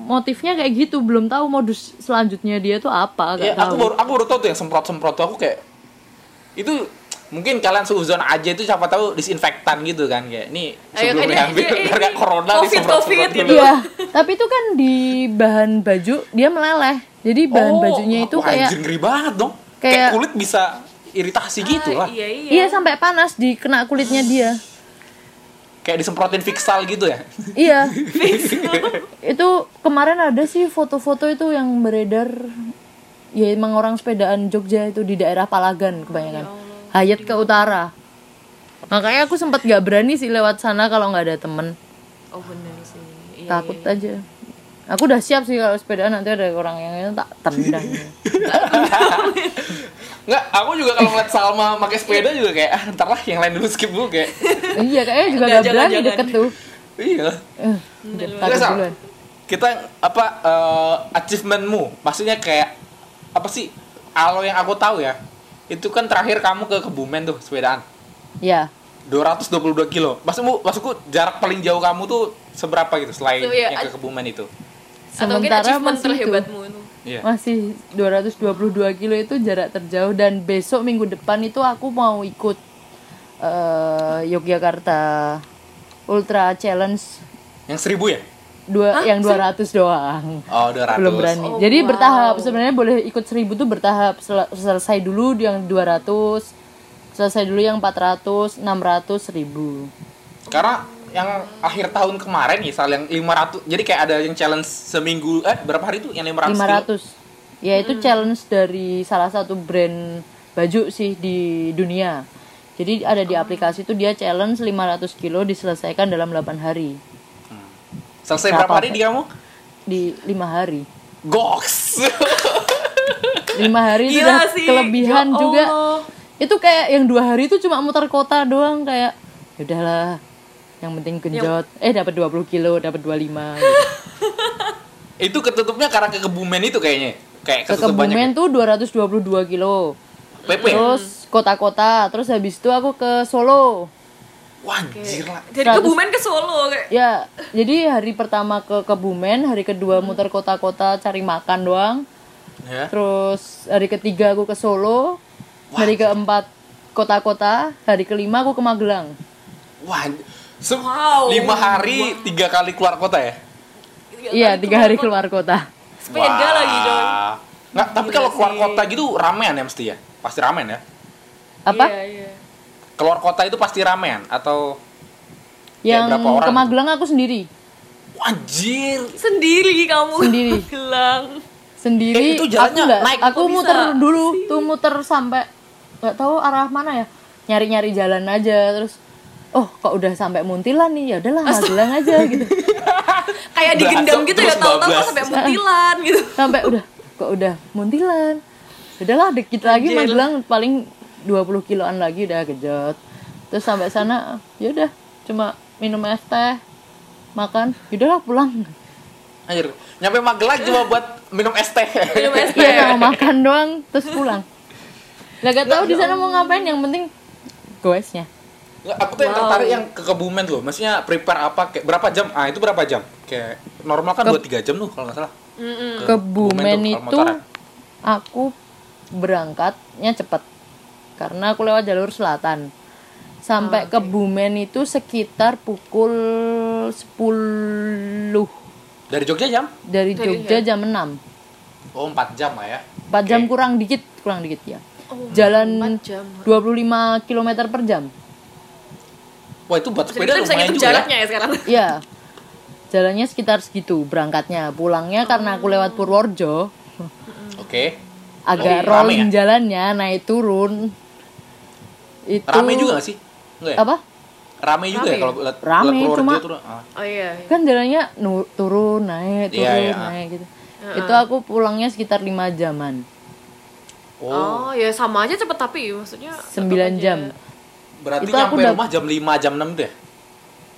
Speaker 3: motifnya kayak gitu belum tahu modus selanjutnya dia tuh apa
Speaker 2: Ya,
Speaker 3: gak
Speaker 2: aku
Speaker 3: tahu
Speaker 2: baru aku baru tau tuh yang semprot semprot tuh aku kayak itu mungkin kalian seuzon aja itu siapa tahu disinfektan gitu kan kayak ini
Speaker 1: Ayo,
Speaker 2: sebelum
Speaker 1: ini-
Speaker 2: diambil
Speaker 1: ini-
Speaker 2: biar nggak
Speaker 1: ini
Speaker 2: corona
Speaker 1: COVID,
Speaker 2: disemprot semprot
Speaker 1: COVID
Speaker 2: dulu.
Speaker 1: gitu.
Speaker 3: iya tapi itu kan di bahan baju dia meleleh jadi bahan
Speaker 2: Oh,
Speaker 3: bajunya itu
Speaker 2: wah,
Speaker 3: kayak
Speaker 2: anjir, ngeri banget dong kayak,
Speaker 3: kayak-
Speaker 2: kulit bisa iritasi gitu
Speaker 1: Ah,
Speaker 2: lah
Speaker 1: Iya iya.
Speaker 3: iya sampai panas di kena kulitnya dia
Speaker 2: kayak disemprotin fixal gitu ya
Speaker 3: iya itu kemarin ada sih foto-foto itu yang beredar ya emang orang sepedaan Jogja itu di daerah Palagan kebanyakan hayat ke utara makanya aku sempat gak berani sih lewat sana kalau nggak ada temen
Speaker 1: Oh benar sih. Iya,
Speaker 3: takut aja aku udah siap sih kalau sepedaan nanti ada orang yang yang tak tendang
Speaker 2: nggak aku juga kalau ngeliat Salma pakai
Speaker 1: Iya.
Speaker 2: sepeda juga kayak ah ntar lah yang lain dulu skip dulu
Speaker 1: *laughs*
Speaker 2: kayak
Speaker 3: iya kayaknya juga
Speaker 1: Udah,
Speaker 3: gak
Speaker 1: jangan,
Speaker 3: berani
Speaker 1: jangan.
Speaker 3: deket tuh
Speaker 2: iya
Speaker 3: Eh, udah, takut
Speaker 2: Nggak, Sal.
Speaker 3: duluan
Speaker 2: kita apa eh, achievementmu maksudnya kayak apa sih kalau yang aku tahu ya itu kan terakhir kamu ke Kebumen tuh sepedaan
Speaker 3: ya
Speaker 2: 222 kilo maksudmu maksudku jarak paling jauh kamu tuh seberapa gitu selain
Speaker 1: Tuh, iya,
Speaker 2: yang ke
Speaker 1: ac-
Speaker 2: Kebumen itu
Speaker 1: Atau mungkin
Speaker 3: sementara
Speaker 1: achievement
Speaker 3: masih itu
Speaker 1: terhebatmu itu.
Speaker 2: iya
Speaker 3: masih 222 kilo itu jarak terjauh dan besok minggu depan itu aku mau ikut eh, Yogyakarta Ultra Challenge
Speaker 2: yang seribu ya
Speaker 3: dua yang 200 doang.
Speaker 2: oh 200
Speaker 3: Belum berani.
Speaker 1: Oh,
Speaker 3: Jadi
Speaker 1: wow.
Speaker 3: bertahap. Sebenarnya boleh ikut 1000 tuh bertahap. Sel- selesai dulu yang 200, selesai dulu yang 400, 600, 1000.
Speaker 2: karena yang akhir tahun kemarin misal yang 500 jadi kayak ada yang challenge seminggu eh berapa hari tuh yang 500 kilo?
Speaker 3: 500. Ya
Speaker 1: Hmm.
Speaker 3: itu challenge dari salah satu brand baju sih di dunia. Jadi ada
Speaker 1: Oh.
Speaker 3: di aplikasi itu dia challenge 500 kilo diselesaikan dalam 8 hari.
Speaker 2: selesai
Speaker 3: Berapa
Speaker 2: berapa hari
Speaker 3: tuh?
Speaker 2: di kamu
Speaker 3: Di 5 hari.
Speaker 2: goks
Speaker 3: 5 hari itu udah kelebihan
Speaker 1: ya
Speaker 3: juga.
Speaker 1: Allah.
Speaker 3: Itu kayak yang dua hari itu cuma muter kota doang kayak "Ya udahlah. Yang penting genjot. Eh dapat 20 kilo, dapat
Speaker 1: *laughs*
Speaker 3: 25 gitu.
Speaker 2: itu ketutupnya karena ke Kebumen itu kayaknya kayak
Speaker 3: Ke
Speaker 2: ketutup banyak
Speaker 3: Kebumen tuh 222 kilo.
Speaker 2: ya. PP
Speaker 3: Terus kota-kota, terus habis itu aku ke Solo.
Speaker 2: wah anjir lah
Speaker 1: Jadi kebumen ke Solo kayak.
Speaker 3: Ya, jadi hari pertama ke Kebumen, hari kedua
Speaker 2: Hmm.
Speaker 3: muter kota-kota cari makan doang.
Speaker 2: ya
Speaker 3: Terus hari ketiga aku ke Solo, hari keempat kota-kota, hari kelima aku ke Magelang.
Speaker 2: wah se-
Speaker 1: Wow.
Speaker 2: lima hari tiga kali keluar kota ya
Speaker 3: Iya, tiga hari keluar kota.
Speaker 1: gitu. Sepeda
Speaker 2: Iya, Wah.
Speaker 1: lagi Iya dong.
Speaker 2: Nggak, tapi kalau keluar kota gitu ramean ya mesti ya pasti ramean ya
Speaker 3: Apa?
Speaker 1: Iya, iya.
Speaker 2: keluar kota itu pasti ramean atau
Speaker 3: Yang
Speaker 2: berapa orang tuh?
Speaker 3: ke Magelang aku sendiri.
Speaker 2: Wah, anjir
Speaker 1: Sendiri kamu.
Speaker 3: Sendiri.
Speaker 1: *laughs* Gelang.
Speaker 3: Sendiri
Speaker 2: Eh, itu
Speaker 3: aku
Speaker 2: jalannya
Speaker 3: nggak-
Speaker 2: naik.
Speaker 3: aku
Speaker 1: Kok bisa?
Speaker 3: muter dulu, tuh muter sampai nggak tahu arah mana ya. Nyari-nyari jalan aja terus oh kok udah sampai Muntilan nih ya udahlah Magelang aja gitu.
Speaker 1: Kayak
Speaker 2: Berasap,
Speaker 1: digendam gitu ya
Speaker 2: Nah, terus
Speaker 1: tahu-tahu
Speaker 2: bablas.
Speaker 1: sampai muntilan
Speaker 2: *laughs*
Speaker 1: gitu.
Speaker 3: sampai udah kok udah muntilan udahlah dikit lagi
Speaker 1: Anjir.
Speaker 3: Magelang paling 20 kiloan lagi udah gejot terus sampai sana ya udah cuma minum es teh makan Ya udahlah pulang
Speaker 2: anjir nyampe Magelang
Speaker 1: *laughs*
Speaker 2: cuma buat minum es teh
Speaker 1: Minum es teh.
Speaker 3: iya mau makan doang terus pulang nggak gak tahu di
Speaker 1: ya
Speaker 3: sana mau ngapain yang penting goesnya
Speaker 2: Nggak, aku tuh yang
Speaker 1: Wow.
Speaker 2: tertarik yang ke Kebumen loh maksudnya prepare apa kayak berapa jam ah itu berapa jam kayak normal kan
Speaker 3: Ke-
Speaker 2: dua tiga jam tuh kalau nggak salah
Speaker 1: Mm-mm.
Speaker 2: Ke
Speaker 3: ke
Speaker 2: Bumen
Speaker 3: Bumen
Speaker 2: tuh,
Speaker 3: itu
Speaker 2: Kalimantan.
Speaker 3: aku berangkatnya cepet karena aku lewat jalur selatan sampai ke Bumen itu sekitar pukul 10
Speaker 2: dari Jogja jam
Speaker 3: dari Jogja jam 6
Speaker 2: oh empat jam lah ya
Speaker 3: 4 jam kurang dikit kurang dikit ya
Speaker 1: 4 Oh,
Speaker 3: jalan
Speaker 1: jam.
Speaker 3: 25 km per jam
Speaker 2: Wah itu buat
Speaker 1: Jadi
Speaker 2: sepeda
Speaker 1: kita bisa
Speaker 2: lumayan
Speaker 1: ngitung
Speaker 2: juga ya.
Speaker 1: jaraknya ya sekarang.
Speaker 3: ya jalannya sekitar segitu berangkatnya pulangnya karena aku lewat Purworejo
Speaker 2: Oke.
Speaker 3: agak
Speaker 2: Oh, rame
Speaker 3: rolling
Speaker 2: ya?
Speaker 3: jalannya naik turun itu
Speaker 2: Rame juga gak sih? Enggak ya?
Speaker 3: apa
Speaker 2: Rame
Speaker 1: Rame
Speaker 2: juga ya
Speaker 1: ya?
Speaker 2: kalau lihat
Speaker 3: Rame,
Speaker 2: lihat keluar
Speaker 3: cuma-
Speaker 2: dia tuh, ah.
Speaker 1: Oh iya.
Speaker 3: kan jalannya nu- turun naik turun
Speaker 2: Iya, iya.
Speaker 3: naik gitu itu aku pulangnya sekitar 5 jaman
Speaker 2: Oh,
Speaker 1: Oh, ya sama aja cepet tapi maksudnya
Speaker 3: 9
Speaker 1: tetap aja.
Speaker 3: jam
Speaker 2: berarti
Speaker 3: Itu aku
Speaker 2: nyampe
Speaker 3: udah-
Speaker 2: rumah jam 5 jam 6 deh.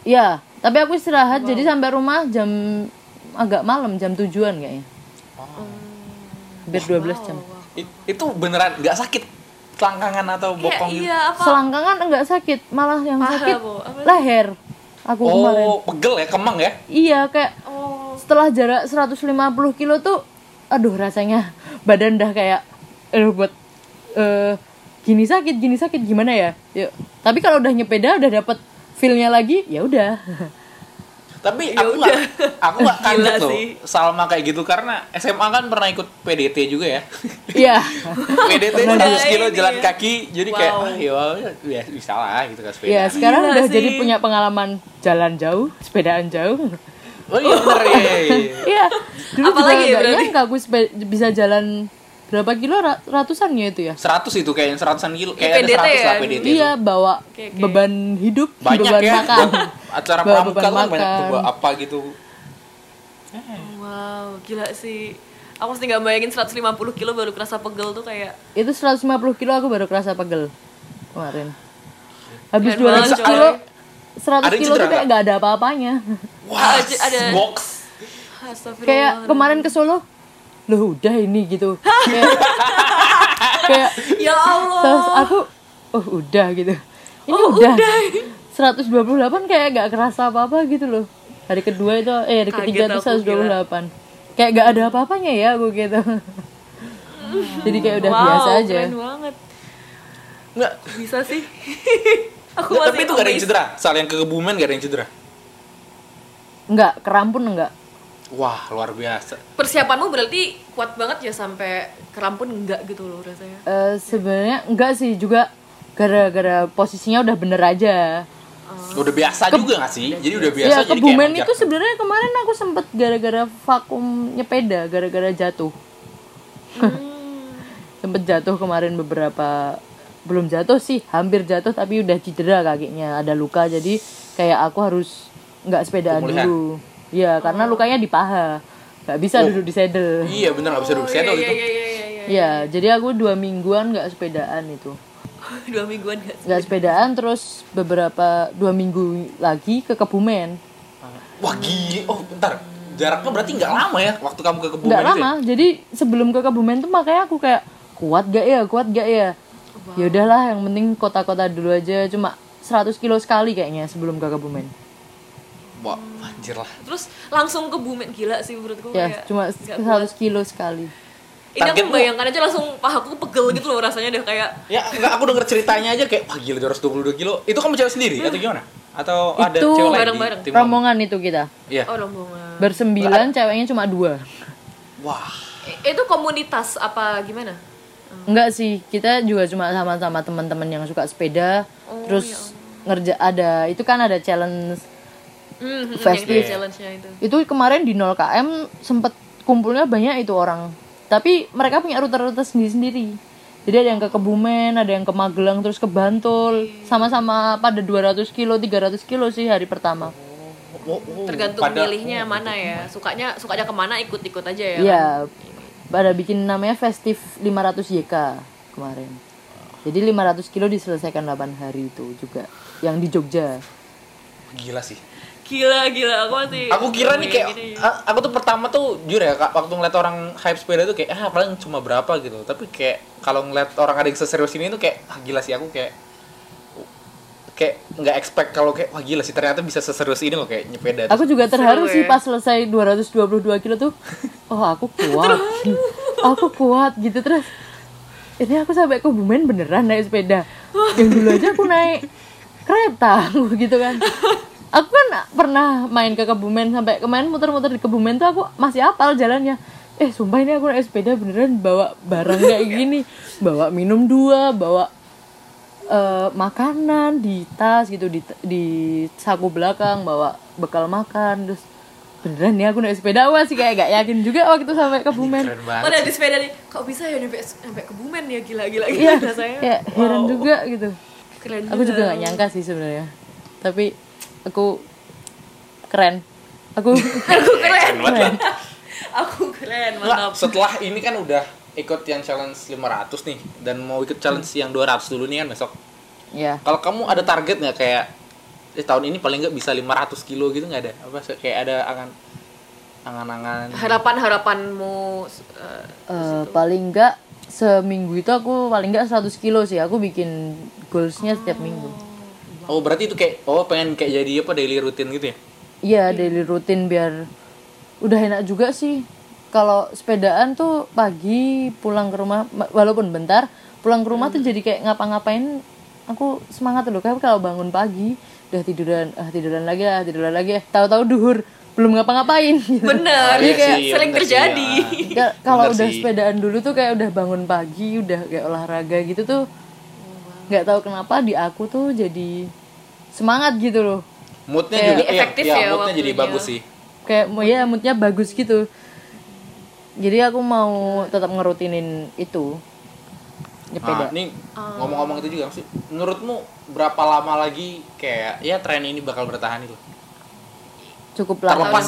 Speaker 3: Iya, tapi aku istirahat jadi sampai rumah jam agak malam jam tujuan kayaknya
Speaker 1: Oh.
Speaker 3: hampir 12 jam
Speaker 2: I- itu beneran nggak sakit selangkangan atau
Speaker 1: Kayak
Speaker 2: bokong gitu.
Speaker 1: iya apa?
Speaker 3: selangkangan enggak sakit malah yang
Speaker 1: Paha,
Speaker 3: sakit
Speaker 1: Bu. Apa?
Speaker 3: leher aku kemarin
Speaker 2: Oh, pegel ya, kemang ya.
Speaker 3: iya kayak
Speaker 1: Oh.
Speaker 3: setelah jarak 150 kilo tuh aduh rasanya badan udah kayak eh buat eh gini sakit gini sakit gimana ya yuk tapi kalau udah nyepeda udah dapet feelnya lagi ya udah *laughs*
Speaker 2: Tapi
Speaker 1: Ya
Speaker 2: aku
Speaker 1: udah.
Speaker 2: nggak aku
Speaker 1: *laughs*
Speaker 2: nggak kaget
Speaker 1: Gila
Speaker 2: loh
Speaker 1: sih.
Speaker 2: Salma kayak gitu karena SMA kan pernah ikut PDT juga
Speaker 1: *laughs*
Speaker 2: ya.
Speaker 3: iya
Speaker 2: PDT
Speaker 1: Pernah
Speaker 2: 100
Speaker 1: juga.
Speaker 2: kilo
Speaker 1: Ini
Speaker 2: jalan
Speaker 1: ya.
Speaker 2: kaki jadi kayak
Speaker 1: Wow. Iya.
Speaker 2: ah, ya, ya bisa lah gitu kan sepeda.
Speaker 3: ya sekarang
Speaker 1: Gila
Speaker 3: udah
Speaker 1: sih.
Speaker 3: jadi punya pengalaman jalan jauh sepedaan jauh *laughs*
Speaker 2: Oh iya bener ya. iya, iya.
Speaker 3: Iya, dulu
Speaker 1: Apalagi ya,
Speaker 3: juga nggak
Speaker 1: berarti?
Speaker 3: nyangka aku sepe- bisa jalan berapa kilo ra- ratusan ya itu ya.
Speaker 2: 100 itu kayaknya seratusan kilo kayak
Speaker 1: PDT
Speaker 2: ada 100 lah
Speaker 1: ya?
Speaker 2: PDT itu.
Speaker 3: Iya, bawa
Speaker 1: Oke, oke.
Speaker 3: beban hidup,
Speaker 2: Banyak
Speaker 3: beban
Speaker 2: ya.
Speaker 3: makan.
Speaker 1: *laughs*
Speaker 2: buat *laughs* Acara
Speaker 3: Bawa
Speaker 2: pramuka
Speaker 3: beban
Speaker 2: kan banyak
Speaker 3: makan.
Speaker 2: tuh buat apa gitu.
Speaker 1: Wow, gila sih. Aku mesti nggak bayangin 150 kilo baru kerasa pegel tuh kayak
Speaker 3: itu 150 kilo aku baru kerasa pegel kemarin.
Speaker 1: Iya,
Speaker 3: Habis
Speaker 1: Keren banget,
Speaker 3: 200 kilo,
Speaker 1: coy.
Speaker 3: 100
Speaker 2: Ada
Speaker 3: kilo tuh
Speaker 2: cedera
Speaker 3: kayak nggak ada apa-apanya.
Speaker 2: Wah,
Speaker 1: Ada- ada-
Speaker 2: box.
Speaker 1: Astagfirullah.
Speaker 3: kayak kemarin ke Solo, loh udah ini gitu. Kayak,
Speaker 1: *laughs*
Speaker 3: kayak
Speaker 1: Ya
Speaker 3: terus
Speaker 1: Allah.
Speaker 3: aku, oh udah gitu. Ini
Speaker 1: Oh,
Speaker 3: udah.
Speaker 1: udah.
Speaker 3: 128 kayak gak kerasa apa-apa gitu loh hari kedua itu eh hari
Speaker 1: Kaget
Speaker 3: ketiga itu
Speaker 1: aku,
Speaker 3: 128 kayak gak ada apa-apanya ya aku gitu
Speaker 1: *laughs*
Speaker 3: jadi kayak Ya udah
Speaker 1: wow,
Speaker 3: biasa aja
Speaker 1: Keren banget.
Speaker 2: Enggak.
Speaker 1: Bisa
Speaker 2: *laughs*
Speaker 1: sih. aku
Speaker 2: Ya, Tapi
Speaker 1: masih
Speaker 2: itu gak ada yang
Speaker 1: amazed.
Speaker 2: cedera. Soal yang ke Kebumen gak ada yang cedera.
Speaker 3: nggak kerampun nggak
Speaker 2: Wah, luar biasa.
Speaker 1: Persiapanmu berarti kuat banget ya sampai kerampun enggak gitu loh rasanya.
Speaker 3: Eh, sebenarnya enggak sih juga gara-gara posisinya udah bener aja
Speaker 1: Oh.
Speaker 2: Udah biasa juga gak sih? Jadi udah biasa
Speaker 3: ya
Speaker 2: jadi kayak
Speaker 3: kebumen
Speaker 2: manjat.
Speaker 3: itu sebenarnya kemarin aku sempet gara-gara vakum nyepeda gara-gara jatuh *laughs* sempet jatuh kemarin beberapa belum jatuh sih hampir jatuh tapi udah cedera kakinya ada luka jadi kayak aku harus nggak sepedaan
Speaker 2: Pemulihan.
Speaker 3: dulu ya karena lukanya di paha nggak
Speaker 2: Oh.
Speaker 3: bisa duduk di saddle
Speaker 2: Iya bener gak bisa duduk saddle
Speaker 1: Iya
Speaker 2: itu.
Speaker 1: iya iya iya, iya.
Speaker 3: ya jadi aku dua mingguan nggak sepedaan itu
Speaker 1: *laughs* Dua mingguan enggak.
Speaker 3: nggak sepedaan terus beberapa dua minggu lagi ke kebumen
Speaker 2: Wah gila, oh bentar. Jaraknya berarti nggak lama ya waktu kamu ke Kebumen
Speaker 3: nggak
Speaker 2: itu ya?
Speaker 3: lama jadi sebelum ke Kebumen tuh makanya aku kayak kuat gak ya kuat gak ya ya udahlah yang penting kota-kota dulu aja cuma 100 kilo sekali kayaknya sebelum ke Kebumen
Speaker 1: Oh,
Speaker 2: Wah, anjir lah.
Speaker 1: Terus langsung ke Bumen gila sih menurutku
Speaker 3: ya
Speaker 1: kayak.
Speaker 3: cuma
Speaker 1: nggak
Speaker 3: 100 kilo sekali
Speaker 1: Ini aku
Speaker 2: Targetmu-
Speaker 1: bayangkan aja langsung pahaku pegel gitu loh rasanya udah kayak
Speaker 2: Ya enggak, aku denger ceritanya aja kayak, wah gila 222 kilo. Itu kamu cewek sendiri atau gimana? Atau ada
Speaker 3: Itu
Speaker 2: cewek lain di
Speaker 1: bareng-bareng.
Speaker 2: tim kamu?
Speaker 3: rombongan itu kita
Speaker 2: Iya.
Speaker 1: oh rombongan.
Speaker 3: bersembilan ceweknya cuma dua
Speaker 1: Oh.
Speaker 2: Wah,
Speaker 1: I- Itu komunitas apa gimana?
Speaker 3: enggak sih kita juga cuma sama-sama teman-teman yang suka sepeda
Speaker 1: Oh, ya
Speaker 3: terus ngerja ada itu kan ada challenge
Speaker 1: Hmm, hmm, yang
Speaker 3: Festive.
Speaker 1: di challenge-nya itu.
Speaker 3: itu kemarin di 0 km sempet kumpulnya banyak itu orang tapi mereka punya rute-rute sendiri-sendiri jadi ada yang ke Kebumen ada yang ke Magelang terus ke Bantul sama-sama pada 200 kilo 300 kilo sih hari pertama
Speaker 2: Oh, oh, gitu.
Speaker 1: Tergantung
Speaker 2: pada-
Speaker 1: milihnya mana ya. Sukanya sukanya kemana ikut-ikut aja ya. kan?
Speaker 3: iya pada bikin namanya festive 500 YK kemarin jadi 500 kilo diselesaikan 8 hari itu juga yang di Jogja
Speaker 2: Gila sih.
Speaker 1: Gila gila aku masih
Speaker 2: Aku kira nih kayak
Speaker 1: bayangin aja.
Speaker 2: a- aku tuh pertama tuh jujur ya Kak, waktu ngeliat orang hype sepeda tuh kayak ah paling cuma berapa gitu. Tapi kayak kalau ngeliat orang ada yang seserius ini tuh kayak ah gila sih aku kayak kayak nggak expect kalau kayak wah gila sih ternyata bisa seserius ini loh kayak nyepeda.
Speaker 3: Aku juga terharu
Speaker 1: Seru
Speaker 3: sih
Speaker 1: ya.
Speaker 3: pas selesai 222 kilo tuh. Oh, aku kuat. aku kuat gitu terus. Ini aku sampai ke Bumen beneran naik sepeda. Yang dulu aja aku naik kereta aku gitu kan. Aku kan pernah main ke Kebumen sampai kemarin muter-muter di Kebumen tuh aku masih hafal jalannya. Eh, sumpah ini aku naik sepeda beneran bawa barang kayak gini, bawa minum dua, bawa eh, makanan di tas gitu di di saku belakang bawa bekal makan terus beneran nih aku naik sepeda awal sih kayak gak yakin juga waktu itu sampai ke Bumen
Speaker 2: Keren banget.
Speaker 1: Padahal di sepeda nih, kok bisa ya nyampe nyampe ke Bumen ya gila gila gila
Speaker 3: iya
Speaker 1: *laughs* rasanya. Iya.
Speaker 3: kayak heran juga gitu
Speaker 1: Keren
Speaker 3: aku juga gak nyangka sih sebenarnya tapi aku keren aku
Speaker 1: *laughs* Aku keren.
Speaker 3: keren
Speaker 1: aku keren,
Speaker 2: Nggak,
Speaker 1: mantap.
Speaker 2: setelah ini kan udah ikut yang challenge 500 nih dan mau ikut challenge yang 200 dulu nih kan besok.
Speaker 3: ya
Speaker 2: Kalau kamu ada target nggak kayak eh, tahun ini paling nggak bisa 500 kilo gitu nggak ada? Apa se- kayak ada angan angan-angan
Speaker 1: Harapan-harapanmu eh,
Speaker 3: eh, paling enggak seminggu itu aku paling enggak 100 kilo sih aku bikin goalsnya setiap minggu
Speaker 2: Oh berarti itu kayak oh pengen kayak jadi apa daily rutin gitu ya?
Speaker 3: Iya daily rutin biar udah enak juga sih kalau sepedaan tuh pagi pulang ke rumah ma- walaupun bentar pulang ke rumah
Speaker 2: Hmm.
Speaker 3: tuh jadi kayak ngapa-ngapain aku semangat loh kayak kalau bangun pagi udah tiduran ah tiduran lagi ah tiduran lagi ah, tahu-tahu duhur belum ngapa-ngapain *laughs* gitu.
Speaker 1: bener
Speaker 2: Iya
Speaker 1: Eh, ya kayak
Speaker 2: sih, iya
Speaker 1: sering
Speaker 2: bener sih,
Speaker 1: terjadi
Speaker 2: iya.
Speaker 3: Ya, kalau
Speaker 2: Bener
Speaker 3: udah
Speaker 2: sih.
Speaker 3: sepedaan dulu tuh kayak udah bangun pagi udah kayak olahraga gitu tuh nggak tahu kenapa di aku tuh jadi semangat gitu loh
Speaker 2: moodnya
Speaker 3: Kayak-
Speaker 2: juga
Speaker 1: Jadi efektif
Speaker 2: iya,
Speaker 1: ya
Speaker 2: moodnya jadi
Speaker 1: waktunya.
Speaker 2: bagus sih
Speaker 3: kayak mau ya moodnya bagus gitu jadi aku mau tetap ngerutinin itu Ya,
Speaker 2: Nah,
Speaker 3: nyepeda
Speaker 2: ini
Speaker 1: Ah.
Speaker 2: ngomong-ngomong itu juga sih. Menurutmu berapa lama lagi kayak ya tren ini bakal bertahan gitu? itu?
Speaker 3: cukup lama
Speaker 2: Terlepas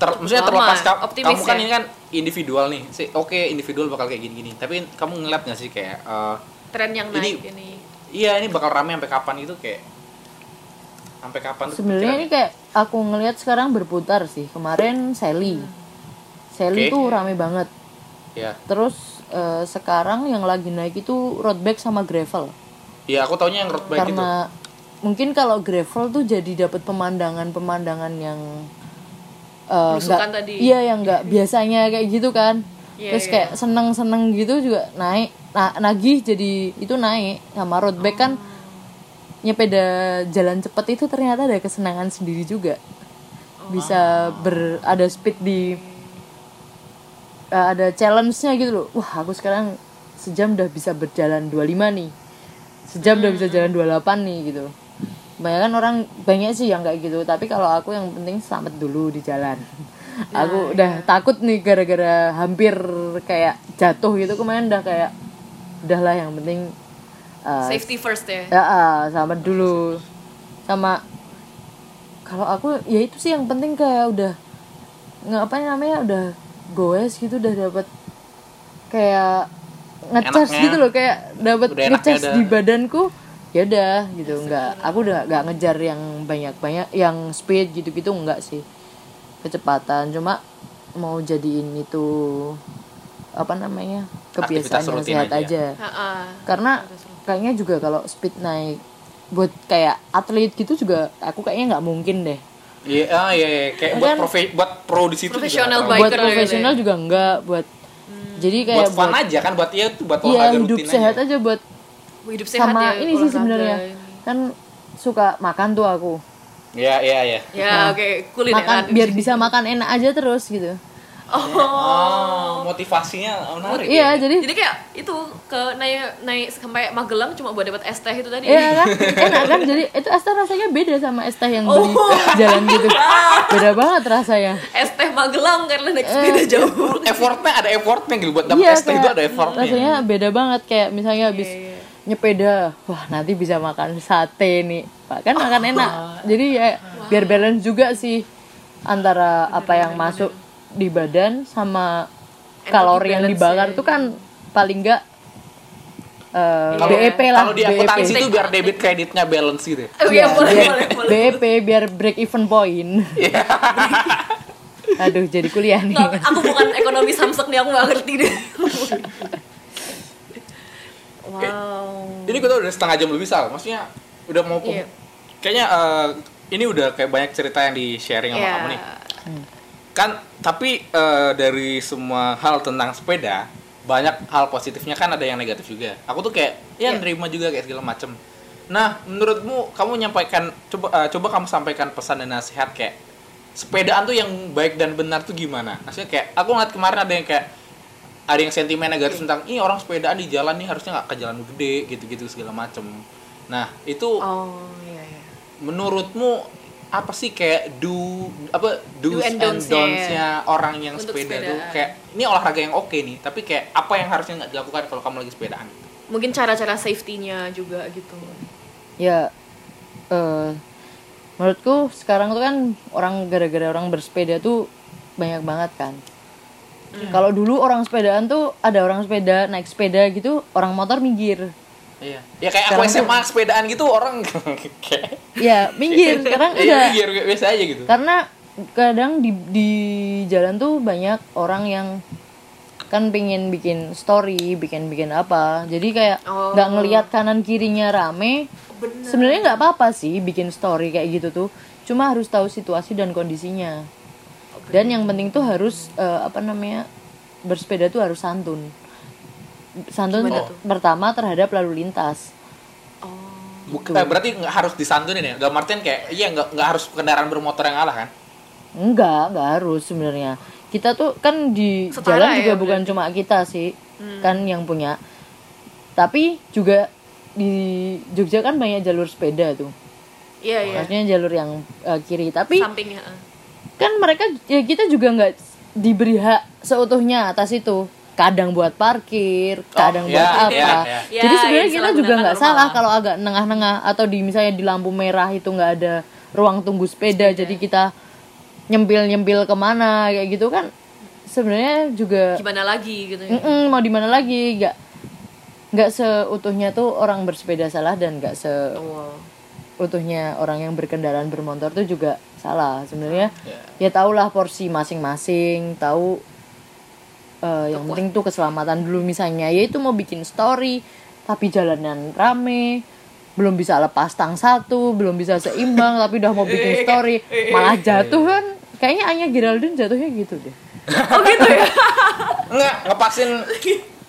Speaker 2: ter, maksudnya
Speaker 1: Lama,
Speaker 2: terlepas ka-
Speaker 1: optimis
Speaker 2: kamu kan
Speaker 1: ya.
Speaker 2: ini kan individual nih. Si, Oke, individual bakal kayak gini-gini. Tapi kamu ngeliat nggak sih kayak eh,
Speaker 1: tren yang naik
Speaker 2: Ini-
Speaker 1: ini
Speaker 3: eh,
Speaker 2: iya ini bakal rame sampai kapan gitu kayak sampai kapan tuh
Speaker 3: sebenarnya ini
Speaker 2: kira-kira?
Speaker 3: kayak aku ngelihat sekarang berputar sih kemarin Sally Sally
Speaker 2: Oke.
Speaker 3: tuh rame banget
Speaker 2: Iya.
Speaker 3: terus eh, sekarang yang lagi naik itu road bike sama gravel
Speaker 2: Iya, aku taunya yang road bike gitu. itu.
Speaker 3: karena mungkin kalau gravel tuh jadi dapat pemandangan-pemandangan yang eh,
Speaker 1: Belusukan
Speaker 3: nggak-
Speaker 1: tadi.
Speaker 3: iya yang nggak biasanya kayak gitu kan
Speaker 1: Iya,
Speaker 3: terus
Speaker 1: iya.
Speaker 3: kayak seneng-seneng gitu juga naik nah, nagih jadi itu naik sama road bike kan
Speaker 1: Oh.
Speaker 3: nyepeda jalan cepet itu ternyata ada kesenangan sendiri juga bisa ber ada speed di eh, ada challenge-nya gitu loh wah aku sekarang sejam udah bisa berjalan 25 nih sejam udah bisa jalan 28 nih gitu banyak kan orang banyak sih yang kayak gitu tapi kalau aku yang penting selamat dulu di jalan aku udah takut nih gara-gara hampir kayak jatuh gitu kemarin udah kayak udahlah yang penting eh,
Speaker 1: safety first ya
Speaker 2: Iya.
Speaker 3: Ya, ah, sama dulu. Sama kalau aku ya itu sih yang penting kayak udah ngapain namanya udah goes gitu udah dapat kayak ngecas
Speaker 2: Enaknya.
Speaker 3: gitu loh kayak dapat
Speaker 2: Udah Iya enaknya
Speaker 3: ngecas
Speaker 2: ada.
Speaker 3: di badanku ya udah gitu nggak aku udah nggak ngejar yang banyak banyak yang speed gitu gitu nggak sih kecepatan cuma mau jadiin itu apa namanya
Speaker 2: Aktivitas
Speaker 3: kebiasaan yang
Speaker 2: rutin
Speaker 3: sehat
Speaker 2: aja.
Speaker 3: aja
Speaker 1: Ha-ha.
Speaker 3: karena kayaknya juga kalau speed naik buat kayak atlet gitu juga aku kayaknya nggak mungkin deh
Speaker 2: Iya, ah, iya, iya. kayak
Speaker 3: Ya
Speaker 2: buat
Speaker 3: kan?
Speaker 2: profe- buat pro di situ juga
Speaker 1: Profesional Biker
Speaker 2: nggak terlalu-
Speaker 3: buat
Speaker 1: gitu ya. Hmm.
Speaker 3: profesional juga nggak buat jadi kayak
Speaker 2: buat fun aja kan buat iya tuh buat
Speaker 3: iya
Speaker 2: olahraga
Speaker 3: hidup
Speaker 2: rutin
Speaker 3: sehat
Speaker 2: aja.
Speaker 3: aja buat
Speaker 1: hidup sehat
Speaker 3: sama
Speaker 1: ya
Speaker 3: ini sih
Speaker 1: olahraga
Speaker 3: sebenarnya
Speaker 1: ini.
Speaker 3: kan suka makan tuh aku
Speaker 2: Iya, iya, iya.
Speaker 1: ya oke kulit
Speaker 3: Nah, makan
Speaker 1: enak.
Speaker 3: biar bisa makan enak aja terus gitu
Speaker 1: oh
Speaker 2: Oh, motivasinya menarik.
Speaker 3: iya
Speaker 2: ya.
Speaker 3: *laughs* jadi
Speaker 1: jadi kayak itu ke naik naik sampai Magelang cuma buat dapat es teh itu tadi
Speaker 3: Iya kan? Enak kan? Jadi itu es teh rasanya beda sama es teh yang
Speaker 1: Oh.
Speaker 3: beli di jalan gitu.
Speaker 1: *laughs*
Speaker 3: Beda banget rasanya.
Speaker 1: es teh Magelang karena naik sepeda
Speaker 3: Eh.
Speaker 1: jauh *laughs*
Speaker 2: effortnya ada effortnya gitu buat dapet
Speaker 3: Iya,
Speaker 2: es teh itu
Speaker 3: kayak
Speaker 2: ada effortnya.
Speaker 3: Rasanya beda banget kayak
Speaker 1: Iya,
Speaker 3: misalnya habis nyepeda, wah nanti bisa makan sate nih. Wah, Kan
Speaker 1: *laughs*
Speaker 3: makan enak. Jadi ya biar balance juga sih antara apa yang masuk di badan sama kalori yang
Speaker 1: balance
Speaker 3: dibakar itu kan paling enggak eh,
Speaker 2: Kalau-
Speaker 3: BEP lah.
Speaker 2: Kalau di
Speaker 3: BEP.
Speaker 2: akuntansi itu biar debit *laughs* kreditnya balance gitu. ya.
Speaker 1: oh, iya, boleh, boleh boleh
Speaker 3: BEP E biar break even point.
Speaker 2: Iya. *laughs*
Speaker 3: Aduh, jadi kuliah nih.
Speaker 1: Nggak, aku bukan ekonomi samsek nih aku nggak ngerti
Speaker 3: *laughs*
Speaker 1: deh wow
Speaker 2: Ini gue tau udah setengah jam lebih sal. Maksudnya udah mau pem-
Speaker 1: Iya.
Speaker 2: kayaknya eh, ini udah kayak banyak cerita yang di sharing sama
Speaker 1: ya
Speaker 2: kamu nih. Kan tapi eh, dari semua hal tentang sepeda banyak hal positifnya kan ada yang negatif juga. Aku tuh kayak ya
Speaker 1: Iya.
Speaker 2: nerima juga kayak segala macem. Nah, menurutmu kamu nyampaikan coba eh, coba kamu sampaikan pesan dan nasihat kayak sepedaan tuh yang baik dan benar tuh gimana? Maksudnya kayak aku ngeliat kemarin ada yang kayak ada yang sentimen negatif tentang ih orang sepedaan di jalan nih harusnya nggak ke jalan gede gitu-gitu segala macem. Nah itu
Speaker 1: oh iya iya
Speaker 2: menurutmu apa sih kayak do apa do's
Speaker 1: Do and
Speaker 2: and
Speaker 1: don'ts-nya.
Speaker 2: don'ts-nya orang yang
Speaker 1: Untuk
Speaker 2: sepeda tuh
Speaker 1: sepedaan.
Speaker 2: kayak ini olahraga yang oke nih tapi kayak apa yang harusnya nggak dilakukan kalau kamu lagi sepedaan?
Speaker 1: mungkin cara-cara safety-nya juga gitu
Speaker 3: ya eh menurutku sekarang tuh kan orang gara-gara orang bersepeda tuh banyak banget kan kalau dulu orang sepedaan tuh ada orang sepeda naik sepeda gitu orang motor minggir
Speaker 2: Iya. Ya kayak aku
Speaker 3: Sekarang
Speaker 2: SMA sepedaan gitu orang *laughs* kayak
Speaker 3: ya
Speaker 2: *laughs*
Speaker 3: minggir sekarang
Speaker 2: iya,
Speaker 3: udah
Speaker 2: biar kayak biasa aja gitu.
Speaker 3: karena kadang di di jalan tuh banyak orang yang kan pingin bikin story bikin bikin apa jadi kayak
Speaker 1: Oh.
Speaker 3: nggak ngelihat kanan kirinya rame sebenarnya nggak apa apa sih bikin story kayak gitu tuh cuma harus tahu situasi dan kondisinya
Speaker 1: oke
Speaker 3: dan yang penting tuh harus eh, apa namanya bersepeda tuh harus santun santun
Speaker 2: Gimana
Speaker 3: per- pertama terhadap lalu lintas
Speaker 1: Oh.
Speaker 2: Bukan, Nah, berarti nggak harus disantunin ya. Dalam artian kayak iya nggak nggak harus kendaraan bermotor yang ngalah kan.
Speaker 3: Enggak, enggak harus sebenarnya. Kita tuh kan di
Speaker 1: Setara
Speaker 3: jalan
Speaker 1: ya, Hmm.
Speaker 3: juga bukan cuma kita sih, kan yang punya. Tapi juga di Jogja kan banyak jalur sepeda tuh.
Speaker 1: Iya iya.
Speaker 3: Maksudnya jalur yang eh, kiri, tapi
Speaker 1: Sampingnya. eh.
Speaker 3: kan mereka ya kita juga nggak diberi hak seutuhnya atas itu. Kadang buat parkir,
Speaker 2: ya,
Speaker 3: kadang buat
Speaker 2: ya,
Speaker 3: apa.
Speaker 2: ya.
Speaker 1: Ya,
Speaker 3: Jadi sebenarnya
Speaker 1: ini
Speaker 3: kita
Speaker 1: salah
Speaker 3: juga
Speaker 1: gunakan
Speaker 3: nggak
Speaker 1: normal
Speaker 3: salah
Speaker 1: lah.
Speaker 3: kalau agak nengah-nengah atau di misalnya di lampu merah itu nggak ada ruang tunggu sepeda, jadi kita nyempil-nyempil kemana kayak gitu kan sebenarnya juga
Speaker 1: Gimana lagi gitu. ya.
Speaker 3: mm-mm, mau di mana lagi nggak nggak seutuhnya tuh orang bersepeda salah dan nggak
Speaker 1: Oh, Wow.
Speaker 3: seutuhnya orang yang berkendaraan bermotor tuh juga salah sebenarnya ya tahulah porsi masing-masing tahu eh, yang penting tuh keselamatan dulu misalnya ya itu mau bikin story tapi jalanan rame belum bisa lepas tang satu belum bisa seimbang tapi udah mau bikin story malah jatuh kan kayaknya Anya Geraldine jatuhnya gitu deh
Speaker 1: Oh gitu
Speaker 3: *laughs*
Speaker 1: ya.
Speaker 2: Nggak ngepasin
Speaker 1: *laughs*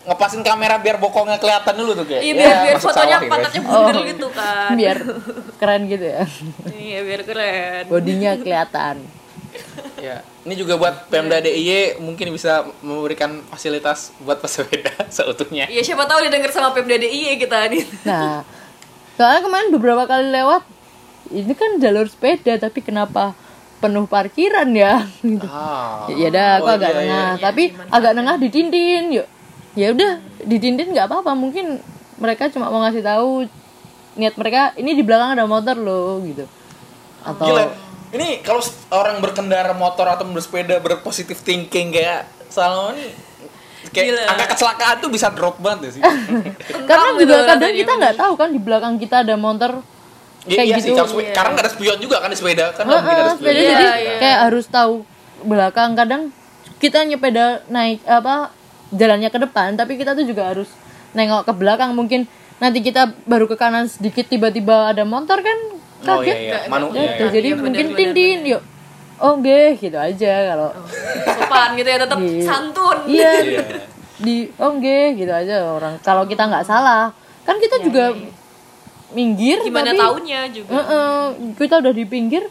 Speaker 2: ngepasin kamera biar bokongnya kelihatan dulu tuh kayak.
Speaker 1: Iya biar,
Speaker 2: ya,
Speaker 1: biar
Speaker 2: masuk
Speaker 1: fotonya
Speaker 2: sawah gitu.
Speaker 1: pantatnya bundar
Speaker 3: Oh.
Speaker 1: gitu kan.
Speaker 3: biar keren gitu ya
Speaker 1: Iya biar keren.
Speaker 3: bodinya kelihatan
Speaker 2: Ya. Ini juga buat Pemda DIY mungkin bisa memberikan fasilitas buat pesepeda *laughs* seutuhnya.
Speaker 1: Iya siapa tahu didengar sama Pemda DIY kita nih.
Speaker 3: nah soalnya kemarin beberapa kali lewat ini kan jalur sepeda tapi kenapa penuh parkiran ya gitu
Speaker 2: Ah.
Speaker 3: Ya- ya udah aku
Speaker 2: Oh,
Speaker 3: agak
Speaker 2: iya, iya.
Speaker 3: nengah tapi agak nengah di dindin yuk ya udah di dindin nggak apa-apa mungkin mereka cuma mau ngasih tahu niat mereka ini di belakang ada motor loh gitu atau
Speaker 2: Gila. Ini kalau s- orang berkendara motor atau bersepeda berpositif thinking kayak Salma ini kayak
Speaker 1: Gila.
Speaker 2: angka kecelakaan tuh bisa drop banget ya
Speaker 3: *laughs*
Speaker 2: sih.
Speaker 3: karena
Speaker 1: Entah
Speaker 3: juga
Speaker 1: gitu
Speaker 3: kadang
Speaker 1: rasanya,
Speaker 3: kita nggak tahu kan di belakang kita ada motor
Speaker 2: Iya,
Speaker 3: kayak
Speaker 2: iya sih,
Speaker 3: gitu Ah,
Speaker 2: kalau sepe- karena nggak ada spion juga kan di sepeda kan nggak mungkin
Speaker 3: Heeh,
Speaker 2: ada
Speaker 3: sepeda
Speaker 2: spion.
Speaker 1: Iya,
Speaker 3: jadi
Speaker 1: iya.
Speaker 3: kayak harus tahu belakang kadang kita nyepeda naik apa jalannya ke depan tapi kita tuh juga harus nengok ke belakang mungkin nanti kita baru ke kanan sedikit tiba-tiba ada motor kan
Speaker 2: Oh iya
Speaker 3: kaget
Speaker 2: iya, manu
Speaker 3: Jatuh.
Speaker 2: iya, iya.
Speaker 3: jadi
Speaker 1: Iya,
Speaker 3: mungkin
Speaker 1: benar,
Speaker 3: tintin yuk oh nggih, gitu aja
Speaker 1: Oh.
Speaker 3: kalau
Speaker 1: Sopan gitu ya tetap
Speaker 3: Iya.
Speaker 1: santun.
Speaker 3: iya
Speaker 2: Iya.
Speaker 3: di oh nggih, gitu aja orang kalau kita nggak salah kan kita juga
Speaker 1: *laughs*
Speaker 3: minggir
Speaker 1: Iya, Gimana
Speaker 3: tapi- Nah,
Speaker 1: taunya juga.
Speaker 3: Heeh, kita udah di pinggir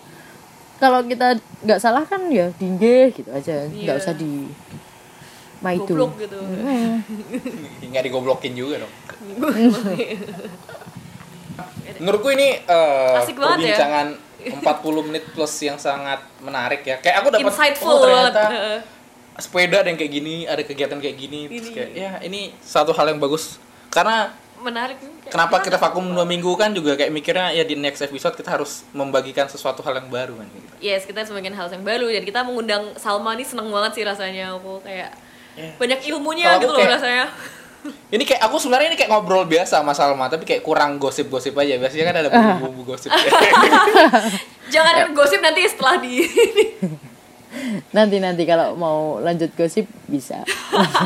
Speaker 3: kalau kita nggak salah kan ya dinggih gitu aja nggak usah di ma itu
Speaker 1: Iya. Goblok gitu.
Speaker 2: iya. Nggak digoblokin juga dong. Menurutku ini eh,
Speaker 1: Asik banget ya.
Speaker 2: perbincangan 40 menit plus yang sangat menarik ya. Kayak aku dapat
Speaker 1: *laughs* Insightful
Speaker 2: oh,
Speaker 1: banget.
Speaker 2: ternyata
Speaker 1: Heeh.
Speaker 2: sepeda ada yang kayak gini, ada kegiatan kayak gini, terus
Speaker 1: Ini.
Speaker 2: kayak ya ini satu hal yang bagus karena
Speaker 1: Menarik.
Speaker 2: Kenapa kita vakum dua minggu kan juga kayak mikirnya ya di next episode kita harus membagikan sesuatu hal yang baru kan gitu.
Speaker 1: Yes, kita sebagian hal yang baru dan kita mengundang Salma nih seneng banget sih rasanya aku kayak banyak ilmunya
Speaker 2: Eh, Kalau aku
Speaker 1: gitu loh
Speaker 2: kayak-
Speaker 1: rasanya.
Speaker 2: Ini kayak aku sebenarnya ini kayak ngobrol biasa sama Salma tapi kayak kurang gosip-gosip aja. Biasanya kan ada bumbu-bumbu gosip. *laughs*
Speaker 1: Jangan
Speaker 3: Eh.
Speaker 1: gosip nanti setelah di
Speaker 3: nanti nanti kalau mau lanjut gosip bisa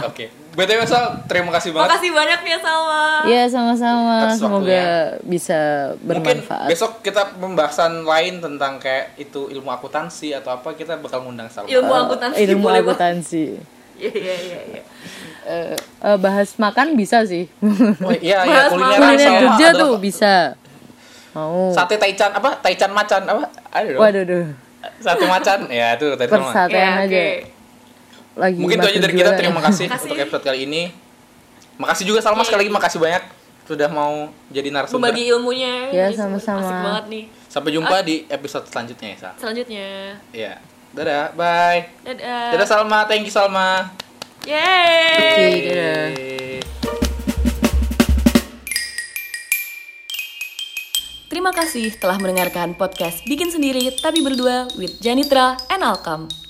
Speaker 2: Oke. BTW Sal, terima kasih banget.
Speaker 1: Makasih banyak ya Salma.
Speaker 3: ya sama-sama
Speaker 2: Atas
Speaker 3: semoga bisa
Speaker 2: ya. Mungkin
Speaker 3: bermanfaat
Speaker 2: besok kita pembahasan lain tentang kayak itu ilmu akuntansi atau apa kita bakal ngundang Salma.
Speaker 1: Ilmu akuntansi
Speaker 3: ilmu
Speaker 1: boleh banget.
Speaker 3: akuntansi
Speaker 1: Iya iya iya. iya.
Speaker 3: Eh, eh, bahas makan bisa
Speaker 2: *laughs*
Speaker 3: sih
Speaker 2: Oh, iya, iya
Speaker 1: Bahas
Speaker 2: kuliner,
Speaker 3: kuliner
Speaker 2: Salma
Speaker 3: Jogja
Speaker 2: adalah
Speaker 3: tuh bisa mau
Speaker 2: Sate Taichan apa? Taichan macan apa? Aduh.
Speaker 3: waduh duh
Speaker 2: Satu macan. Ya itu tadi Salma.
Speaker 1: Oke,
Speaker 3: persatuan
Speaker 1: oke.
Speaker 3: aja lagi
Speaker 2: Mungkin itu aja
Speaker 3: makin
Speaker 2: dari kita.
Speaker 3: juara. ya.
Speaker 2: Terima kasih
Speaker 1: Makasih.
Speaker 2: untuk episode kali ini. Makasih juga Salma sekali lagi makasih banyak sudah mau jadi narasumber.
Speaker 1: Membagi ilmunya.
Speaker 3: Ya,
Speaker 1: Jadi
Speaker 3: sama-sama.
Speaker 1: Asik banget nih.
Speaker 2: Sampai
Speaker 3: Ah.
Speaker 2: jumpa di episode selanjutnya ya, Sal.
Speaker 1: Selanjutnya.
Speaker 2: Iya. Dadah, bye.
Speaker 1: Dadah.
Speaker 2: Dadah Salma, thank you Salma.
Speaker 1: Yeay.
Speaker 3: Oke, dadah.
Speaker 1: Terima kasih telah mendengarkan podcast Bikin Sendiri Tapi Berdua with Janitra and Alkam.